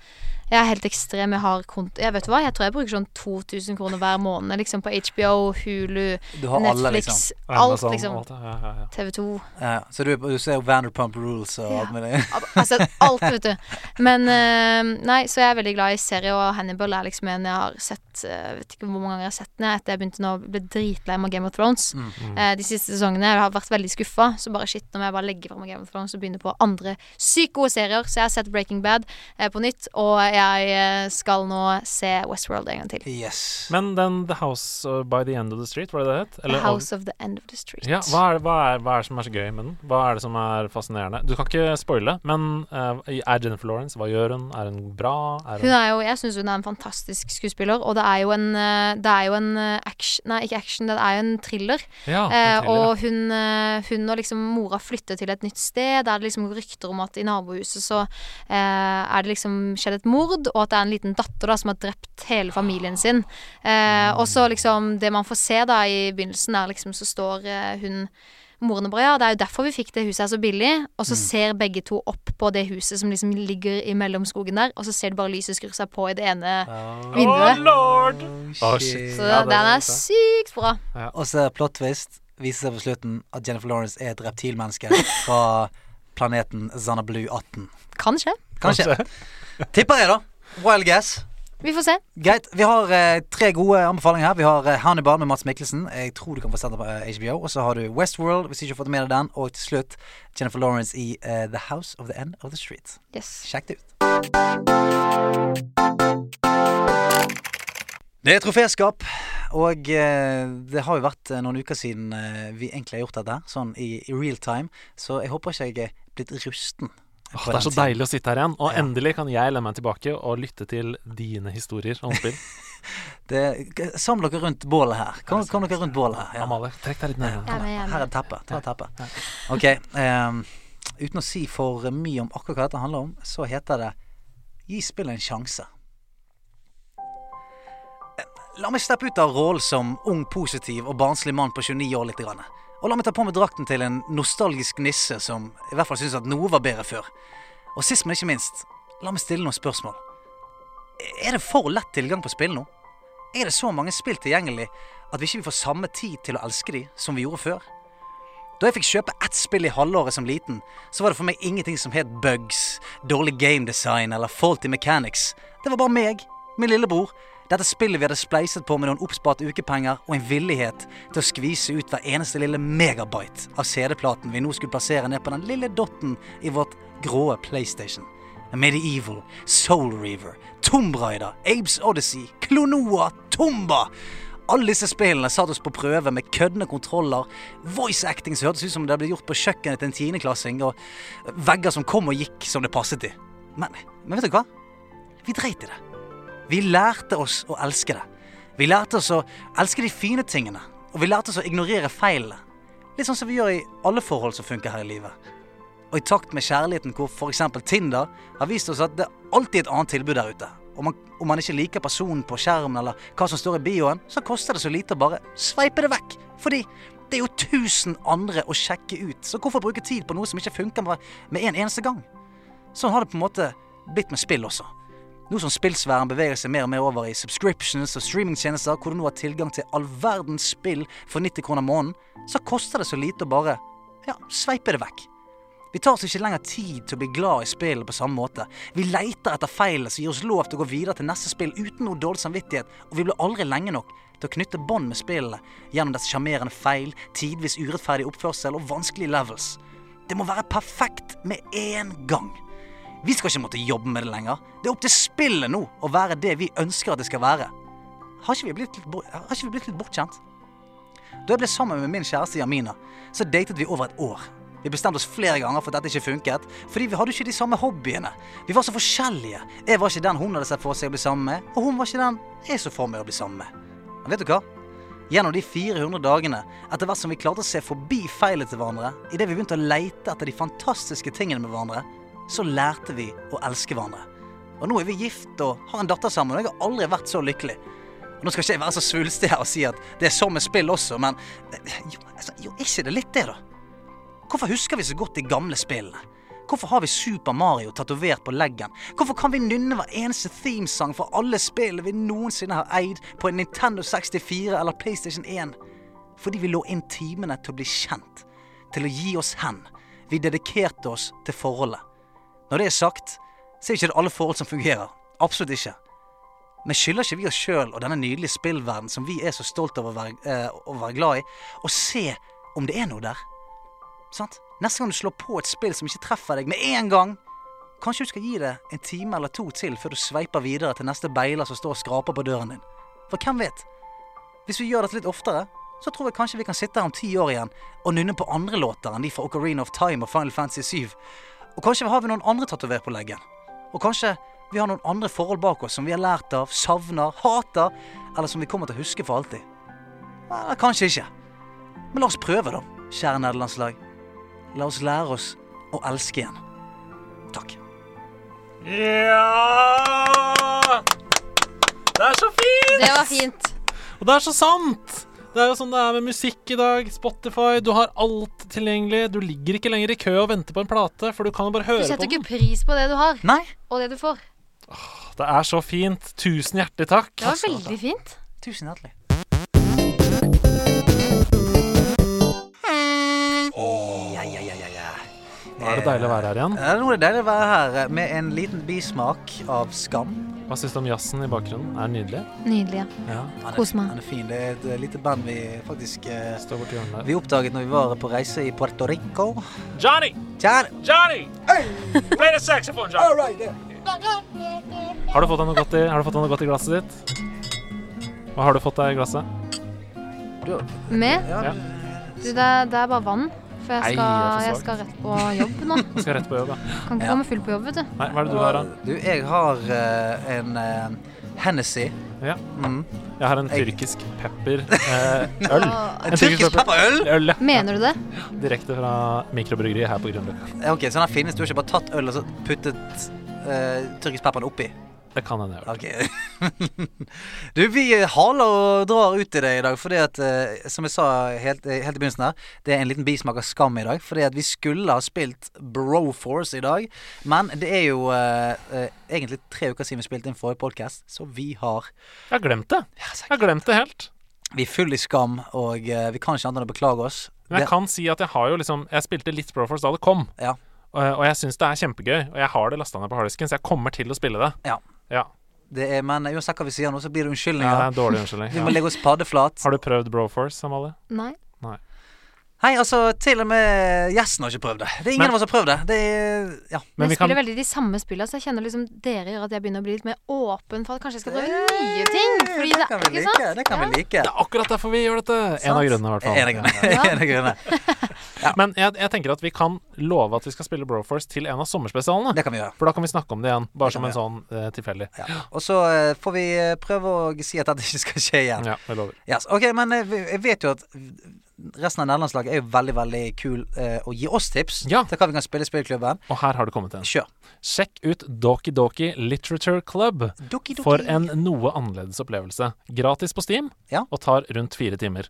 S1: Jeg er helt ekstrem. Jeg har konto Jeg vet du hva, jeg tror jeg bruker sånn 2000 kroner hver måned liksom på HBO, Hulu,
S2: Du har alle, liksom.
S1: Netflix, alt
S4: Amazon,
S1: liksom.
S4: alt, ja, ja, ja.
S1: TV 2.
S2: Ja, så du, er på- du ser jo Vanderpump Rules og alt
S1: Ja.
S2: med det.
S1: Altså alt, vet du. Men eh, nei, så jeg er veldig glad i serie, og Hannibal er liksom en jeg har sett eh, Jeg vet ikke hvor mange ganger jeg har sett den jeg, etter jeg begynte nå ble dritlei med Game of Thrones.
S4: Mm.
S1: Eh, de siste sesongene jeg har vært veldig skuffa, så bare shit, nå må jeg bare legge fra meg Game of Thrones og begynne på andre sykt gode serier. Så jeg har sett Breaking Bad eh, på nytt, og jeg eh, skal nå se Westworld en gang til.
S2: Yes.
S4: Men den The House uh, by the End of the Street, var det det het?
S1: the House of the End of the Street.
S4: Ja, hva er, hva, er, hva er det som er så gøy med den? Hva er det som er fascinerende? Du kan ikke spoile, men eh, er Jennifer Lawrence, hva gjør hun? Er hun bra? Er hun,
S1: Hun er jo, jeg syns hun er en fantastisk skuespiller, og det er jo en, eh, det er jo en eh, action Nei, ikke action, det er jo en thriller.
S4: ja,
S1: Eh, Eh,
S4: thriller,
S1: og hun, eh, hun og liksom mora flytter til et nytt sted. Der er det liksom rykter om at i nabohuset så eh, er det liksom skjedd et mord, og at det er en liten datter da som har drept hele familien sin. Eh, og så liksom det man får se da i begynnelsen, er liksom så står eh, hun Moren og bare, ja, Det er jo derfor vi fikk det huset her så billig. Og
S4: Mm.
S1: så ser begge to opp på det huset som liksom ligger imellom skogen der, og så ser de bare lyset skrur seg på i det ene
S2: Oh,
S1: vinduet.
S4: lord! Å, Ah, shit.
S1: Så
S4: Ja, det er
S1: den
S4: sant,
S1: er sykt bra.
S2: Og så plot twist viser seg på slutten at Jennifer Lawrence er et reptilmenneske fra planeten Xanablu 18.
S1: Kan skje.
S2: Kanskje. Tipper jeg, da. Wild guess.
S1: Vi får se.
S2: Greit. Vi har eh, tre gode anbefalinger her. Vi har eh, Hannibal med Mats Mikkelsen. Jeg tror du kan få sendt den på eh, HBO. Og så har du Westworld, hvis du ikke har fått med deg den. Og til slutt Jennifer Lawrence i eh, The House of the End of the Street.
S1: Yes.
S2: Sjekk det ut. Det er troféskap, og eh, det har jo vært eh, noen uker siden eh, vi egentlig har gjort dette her, sånn i, i real time. Så jeg håper ikke jeg er blitt rusten.
S4: Åh,
S2: på
S4: det er
S2: den
S4: så
S2: tiden.
S4: deilig å sitte her igjen. Og
S2: Ja.
S4: endelig kan jeg lene meg tilbake og lytte til dine historier om spill.
S2: Det, samle dere rundt bålet her. Kom, kom dere rundt bålet her. Ja.
S4: Amalie, trekk deg litt nærmere.
S1: Jeg er med, jeg er
S2: Her
S1: med.
S2: er teppet. Ta teppet. Ok. ehm, uten å si for mye om akkurat hva dette handler om, så heter det Gi spillet en sjanse. Eh, La meg steppe ut av rollen som ung, positiv og barnslig mann på 29 år litt. Grann. Og la meg ta på meg drakten til en nostalgisk nisse som i hvert fall syns at noe var bedre før. Og sist, men ikke minst, la meg stille noen spørsmål. Er det for lett tilgang på spill nå? Er det så mange spill tilgjengelig at vi ikke får samme tid til å elske de som vi gjorde før? Da jeg fikk kjøpe ett spill i halvåret som liten, så var det for meg ingenting som het bugs, dårlig game design eller faulty mechanics. Det var bare meg, min lillebror, dette spillet vi hadde spleiset på med noen oppsparte ukepenger og en villighet til å skvise ut hver eneste lille megabyte av CD-platen vi nå skulle plassere ned på den lille dotten i vårt grå PlayStation. Medieval, Soul Reaver, Tomb Raider, Abes Odyssey, Klonoa, Tomba! Alle disse spillene satt oss på prøve med køddende kontroller, voice acting som hørtes ut som det ble gjort på kjøkkenet til en tiendeklassing, og vegger som kom og gikk som det passet i. Men, men vet du hva? Vi dreit i det. Vi lærte oss å elske det. Vi lærte oss å elske de fine tingene, og vi lærte oss å ignorere feilene. Litt sånn som vi gjør i alle forhold som funker her i livet. Og i takt med kjærligheten hvor f.eks. Tinder har vist oss at det alltid er et annet tilbud der ute. Om man, om man ikke liker personen på skjermen eller hva som står i bioen, så koster det så lite å bare sveipe det vekk. Fordi det er jo tusen andre å sjekke ut, så hvorfor bruke tid på noe som ikke funker med, med en eneste gang? Sånn har det på en måte blitt med spill også. Nå som spillsfæren beveger seg mer og mer over i subscriptions og streamingtjenester, hvor du nå har tilgang til all verdens spill for 90 kroner måneden, så koster det så lite å bare ja, sveipe det vekk. Vi tar oss ikke lenger tid til å bli glad i spillet på samme måte. Vi leiter etter feilene som gir oss lov til å gå videre til neste spill uten noe dårlig samvittighet, og vi blir aldri lenge nok til å knytte bånd med spillene gjennom dets sjarmerende feil, tidvis urettferdig oppførsel og vanskelige levels. Det må være perfekt med én gang. Vi skal ikke måtte jobbe med det lenger. Det er opp til spillet nå å være det vi ønsker at det skal være. Har ikke vi blitt litt, bo- har ikke vi blitt litt bortkjent? Da jeg ble sammen med min kjæreste Jamina, så datet vi over et år. Vi bestemte oss flere ganger for at dette ikke funket, fordi vi hadde ikke de samme hobbyene. Vi var så forskjellige. Jeg var ikke den hun hadde sett for seg å bli sammen med, og hun var ikke den jeg så for meg å bli sammen med. Men vet du hva? Gjennom de 400 dagene, etter hvert som vi klarte å se forbi feilene til hverandre, idet vi begynte å leite etter de fantastiske tingene med hverandre, så lærte vi å elske hverandre. Og nå er vi gift og har en datter sammen, og jeg har aldri vært så lykkelig. Og Nå skal ikke jeg være så svulstig her og si at det er sånn med spill også, men jo, altså, jo, er ikke det litt det, da? Hvorfor husker vi så godt de gamle spillene? Hvorfor har vi Super Mario tatovert på leggen? Hvorfor kan vi nynne hver eneste themesang fra alle spillene vi noensinne har eid på en Nintendo 64 eller PlayStation 1? Fordi vi lå inn timene til å bli kjent, til å gi oss hen. Vi dedikerte oss til forholdet. Når det er sagt, så er ikke det alle forhold som fungerer. Absolutt ikke. Men skylder ikke vi oss sjøl og denne nydelige spillverden som vi er så stolt over å være, eh, å være glad i, å se om det er noe der? Sant? Neste gang du slår på et spill som ikke treffer deg med en gang, kanskje du skal gi det en time eller to til før du sveiper videre til neste beiler som står og skraper på døren din. For hvem vet? Hvis vi gjør dette litt oftere, så tror jeg kanskje vi kan sitte her om ti år igjen og nynne på andre låter enn de fra Ocarina of Time og Final Fantasy 7. Og kanskje har vi noen andre tatovert på leggen. Og kanskje vi har noen andre forhold bak oss som vi har lært av, savner, hater, eller som vi kommer til å huske for alltid. Eller kanskje ikke. Men la oss prøve, da, kjære nederlandslag. La oss lære oss å elske igjen. Takk.
S4: Ja! Det er så fint!
S1: Det var fint.
S4: Og det er så sant! Det er jo sånn det er med musikk i dag. Spotify, du har alt tilgjengelig. Du ligger ikke lenger i kø og venter på en plate, for du kan jo bare
S1: Du
S4: høre
S1: setter
S4: på
S1: ikke
S4: den.
S1: pris på det du har,
S2: Nei,
S1: og det du får.
S4: Det er så fint. Tusen hjertelig takk.
S1: Det var veldig fint.
S2: tusen hjertelig. Ja, ja, ja, ja, ja.
S4: Nå er det deilig å være her igjen.
S2: Ja, Nå er det deilig å være her eh, med en liten bismak av skam.
S4: Hva syns du om jazzen i bakgrunnen? Er den nydelig?
S1: Nydelig. ja.
S4: Ja.
S2: Han er,
S1: Kos meg.
S2: Han er fin. Det er et eh, lite band vi faktisk eh,
S4: Står borti hjørnet der.
S2: vi oppdaget når vi var på reise i Puerto Rico.
S4: Johnny!
S2: Kjære
S4: Johnny! Play the saxophone, Johnny! Har du fått deg noe godt i, har du fått deg noe godt i glasset ditt? Hva har du fått deg i glasset?
S2: du,
S1: Med?
S2: ja,
S4: Ja.
S1: Du, det er, det er bare vann. For
S4: Nei,
S1: jeg
S4: det er
S1: skal,
S4: for svakt.
S1: jeg skal rett på jobb nå.
S4: Jeg skal rett på jobb, ja.
S1: Kan ikke
S2: Ja.
S1: komme full på jobb, vet du.
S4: Nei, hva er det du har, da?
S2: du, jeg har eh, en eh, Hennessy.
S4: Ja.
S2: Mm.
S4: Jeg har en tyrkisk pepper eh, øl.
S1: Åh.
S4: En
S2: En tyrkisk pepperøl?
S4: Øl, ja.
S1: Mener du det?
S4: Direkte fra mikrobryggeriet her på Grünerløkka.
S2: Ja, Ok, så den finnes. Du har ikke bare tatt øl og så puttet eh, tyrkisk pepper oppi?
S4: Det kan hende. jeg gjør.
S2: Ok. du, vi haler og drar ut i det i dag, fordi at eh, Som jeg sa helt, eh, helt i begynnelsen her, det er en liten bismak av skam i dag. Fordi at vi skulle ha spilt Broforce i dag, men det er jo eh, eh, egentlig tre uker siden vi spilte inn forrige podkast, så vi har
S4: Jeg har glemt det. Jeg har glemt det helt.
S2: Vi er full i skam, og eh, vi kan ikke annet enn å beklage oss.
S4: Men jeg
S2: Det-
S4: kan si at jeg har jo liksom Jeg spilte litt Broforce da det kom,
S2: Ja.
S4: og, og jeg syns det er kjempegøy. Og jeg har det lasta ned på harddisken, så jeg kommer til å spille det.
S2: Ja.
S4: Ja,
S2: det er, men uansett hva vi sier nå, så blir det
S4: ja det er
S2: unnskyldninger.
S4: en dårlig unnskyldning.
S2: Vi må
S4: Ja.
S2: legge oss paddeflat.
S4: Har du prøvd Broforce, Amalie?
S1: Nei.
S2: Hei, altså, til og med gjesten har ikke prøvd det. Det er ingen
S4: Men-
S2: av oss som har prøvd det. Det er Ja.
S1: Men
S4: Men
S1: jeg
S4: vi kan
S1: spiller veldig de samme spillene, så jeg kjenner liksom dere gjør at jeg begynner å bli litt mer åpen for at kanskje jeg skal prøve nye ting. Fordi det,
S2: kan vi
S1: ikke
S2: like.
S1: sant?
S2: Det kan vi like.
S4: Det er akkurat derfor vi gjør dette! En av grunnene, i hvert fall.
S2: En av grunnene.
S1: Ja.
S2: En av grunnene.
S4: Men jeg, jeg tenker at vi kan love at vi skal spille Broforce til en av sommerspesialene.
S2: Det kan vi gjøre.
S4: For da kan vi snakke om det igjen,
S2: Det
S4: bare
S2: kan
S4: som en sånn eh, tilfeldig.
S2: Ja. Og så eh, får vi eh, prøve å si at dette ikke skal skje igjen.
S4: Ja, jeg lover.
S2: Yes. Ok, men eh, vi- jeg vet jo at resten av nederlandslaget er jo veldig, veldig kul eh, å gi oss tips
S4: Ja.
S2: til hva vi kan spille i spillklubben.
S4: Og her har det kommet en.
S2: Kjør.
S4: Sjekk ut Doki Doki Literature Club
S2: Doki, doki.
S4: for en noe annerledes opplevelse. Gratis på Steam
S2: Ja.
S4: og tar rundt fire timer.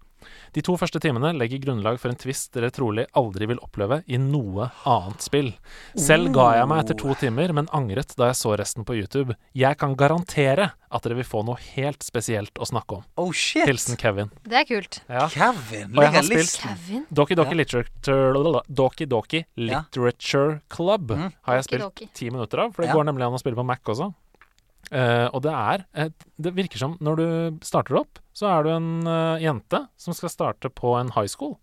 S4: De to første timene legger grunnlag for en twist dere trolig aldri vil oppleve i noe annet spill. Selv ga jeg meg etter to timer, men angret da jeg så resten på YouTube. Jeg kan garantere at dere vil få noe helt spesielt å snakke om.
S2: Oh shit.
S4: Hilsen Kevin.
S1: Det er kult.
S4: Ja.
S2: Kevin.
S4: Og jeg har
S2: Ligger
S4: spilt-
S2: listen.
S1: Kevin.
S4: Doki Doki
S2: Ja.
S4: Literature Doki Doki
S2: Ja. Mm.
S4: Literature Club har jeg
S1: Doki
S4: spilt
S1: Doki.
S4: ti minutter av, for det
S2: Ja.
S4: går nemlig an å spille på Mac også. Eh, og det er et, Det virker som når du starter opp, så er du en eh, jente som skal starte på en high school.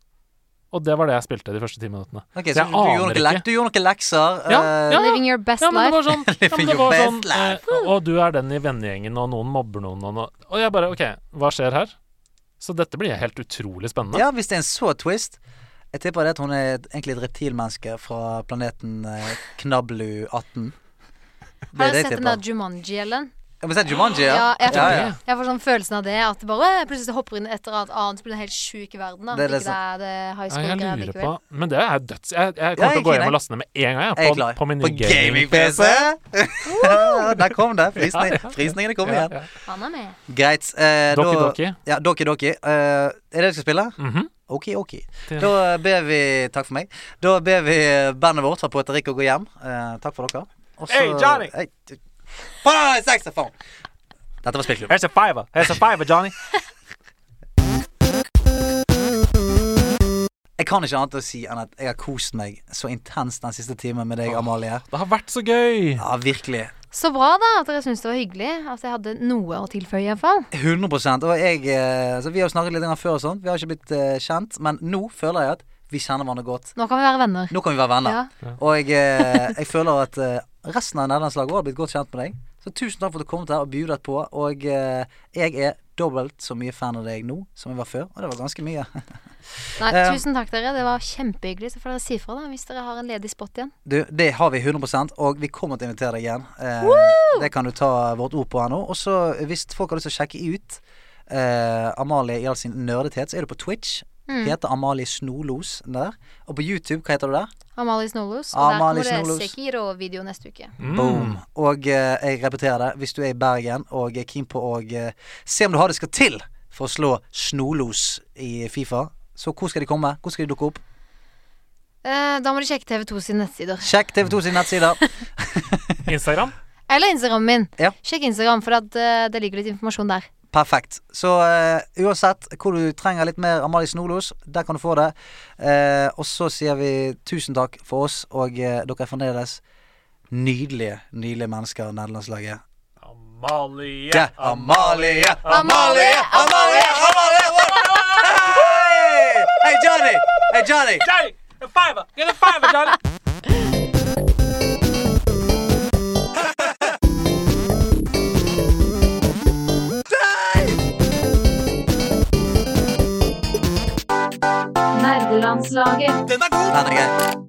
S4: Og det var det jeg spilte de første ti minuttene.
S2: Ok,
S4: Jeg
S2: så du, du, gjorde
S4: aner
S2: noen lek,
S4: ikke.
S2: du gjorde noen lekser.
S4: Ja,
S2: eh,
S4: ja.
S1: Living your best
S4: Ja, men det
S1: life.
S4: var sånn, ja, men det
S2: Your
S4: var sånn
S2: best
S4: eh, Og du er den i vennegjengen, og noen mobber noen, og, noe- og jeg bare OK, hva skjer her? Så dette blir helt utrolig spennende.
S2: Ja, hvis det er en så twist. Jeg tipper det at hun er et- egentlig et reptilmenneske fra planeten eh, Knablu 18. Det er
S1: Har
S2: det
S1: du
S2: jeg
S1: sett den
S2: tipper.
S1: der Jumanji, Ellen?
S2: Ja, Men se Jumanji, ja.
S1: Ja, jeg,
S2: ja,
S1: får,
S2: ja.
S1: jeg får sånn følelsen av det. At det bare jeg plutselig hopper inn etter et annet, så blir det en helt sjuk verden. Da.
S2: Det er
S1: Det
S2: det
S1: ikke det er det
S4: Ja,
S1: high
S4: jeg
S1: school-greia
S4: lurer på
S1: likevel.
S4: Men det er døds... Jeg, jeg
S2: Ja,
S4: kommer til å gå
S2: ikke
S4: hjem og
S2: det.
S4: laste ned med en gang.
S2: Jeg
S4: Jeg,
S2: er klar.
S4: på, på min
S2: På
S4: nye
S2: gaming-PC! Der kom det. Frysning, frysningene kom igjen.
S4: Ja, ja.
S1: Han er med.
S2: Greit. Eh,
S4: Doki
S2: da-
S4: Doki.
S2: Ja, Doki Doki. Eh, er det du skal spille?
S4: Mhm.
S2: Ok, ok.
S4: Det-
S2: Da ber vi Takk for meg. Da ber vi bandet vårt fra Puerto Rico gå hjem. Eh, takk for dere. Og så-
S4: Hey, Johnny!
S2: Hey, du- På saxofon! Dette var Spillklubben.
S4: Here's a fiver. Here's a fiver, Johnny.
S2: Jeg kan ikke annet å si enn at jeg har kost meg så intenst den siste timen med deg,
S4: Åh.
S2: Amalie.
S4: Det har vært så gøy.
S2: Ja, virkelig.
S1: Så bra, da, at dere syntes det var hyggelig. At jeg hadde noe å tilføye, iallfall.
S2: 100 Og jeg eh, altså, Vi har jo snakket litt grann før og sånn. Vi har ikke blitt eh, kjent. Men nå føler jeg at vi kjenner hverandre godt.
S1: Nå kan vi være venner.
S2: Nå kan vi være venner.
S1: Ja.
S2: Og jeg, eh, jeg føler at eh, resten av nederlandslaget også har blitt godt kjent med deg. Så tusen takk for at du kom her og bjudet på. Og eh, jeg er dobbelt så mye fan av deg nå som jeg var før. Og det var ganske mye.
S1: Nei,
S2: Eh.
S1: tusen takk, dere. Det var kjempehyggelig. Så får dere si fra da, hvis dere har en ledig spot igjen.
S2: Du, det har vi 100 og vi kommer til å invitere deg igjen. Eh, det kan du ta vårt ord på her nå. Og så hvis folk har lyst til å sjekke ut eh, Amalie i all sin nerdethet, så er du på Twitch. Heter Amalie Snolos der. Og på YouTube, hva heter du der?
S1: Amalie Snolos. Og
S2: Amalie
S1: der kommer
S2: Snolos.
S1: det Sekiro-video neste uke.
S4: Mm.
S2: Boom. Og eh, jeg repeterer det, hvis du er i Bergen og er keen på å eh, se om du har det skal til for å slå Snolos i Fifa, så hvor skal de komme? Hvor skal de dukke opp?
S1: Eh, da må du sjekke TV2 sine nettsider.
S2: Sjekk TV2 sine nettsider.
S4: Instagram.
S1: Eller Instagram min.
S2: Ja.
S1: Sjekk Instagram, for at, eh, det ligger litt informasjon der.
S2: Perfekt. Så eh, uansett hvor du trenger litt mer Amalie Snolos, der kan du få det. Eh, og så sier vi tusen takk for oss, og eh, dere er fremdeles nydelige, nydelige mennesker, nederlandslaget.
S4: Amalie.
S2: Ja, Amalie,
S1: Amalie, Amalie,
S2: Amalie! Hey! hey, Johnny! Hey, Johnny!
S4: Johnny, a fiver. Get a fiver, Johnny.
S5: Nerdelandslaget.
S2: Den er grei.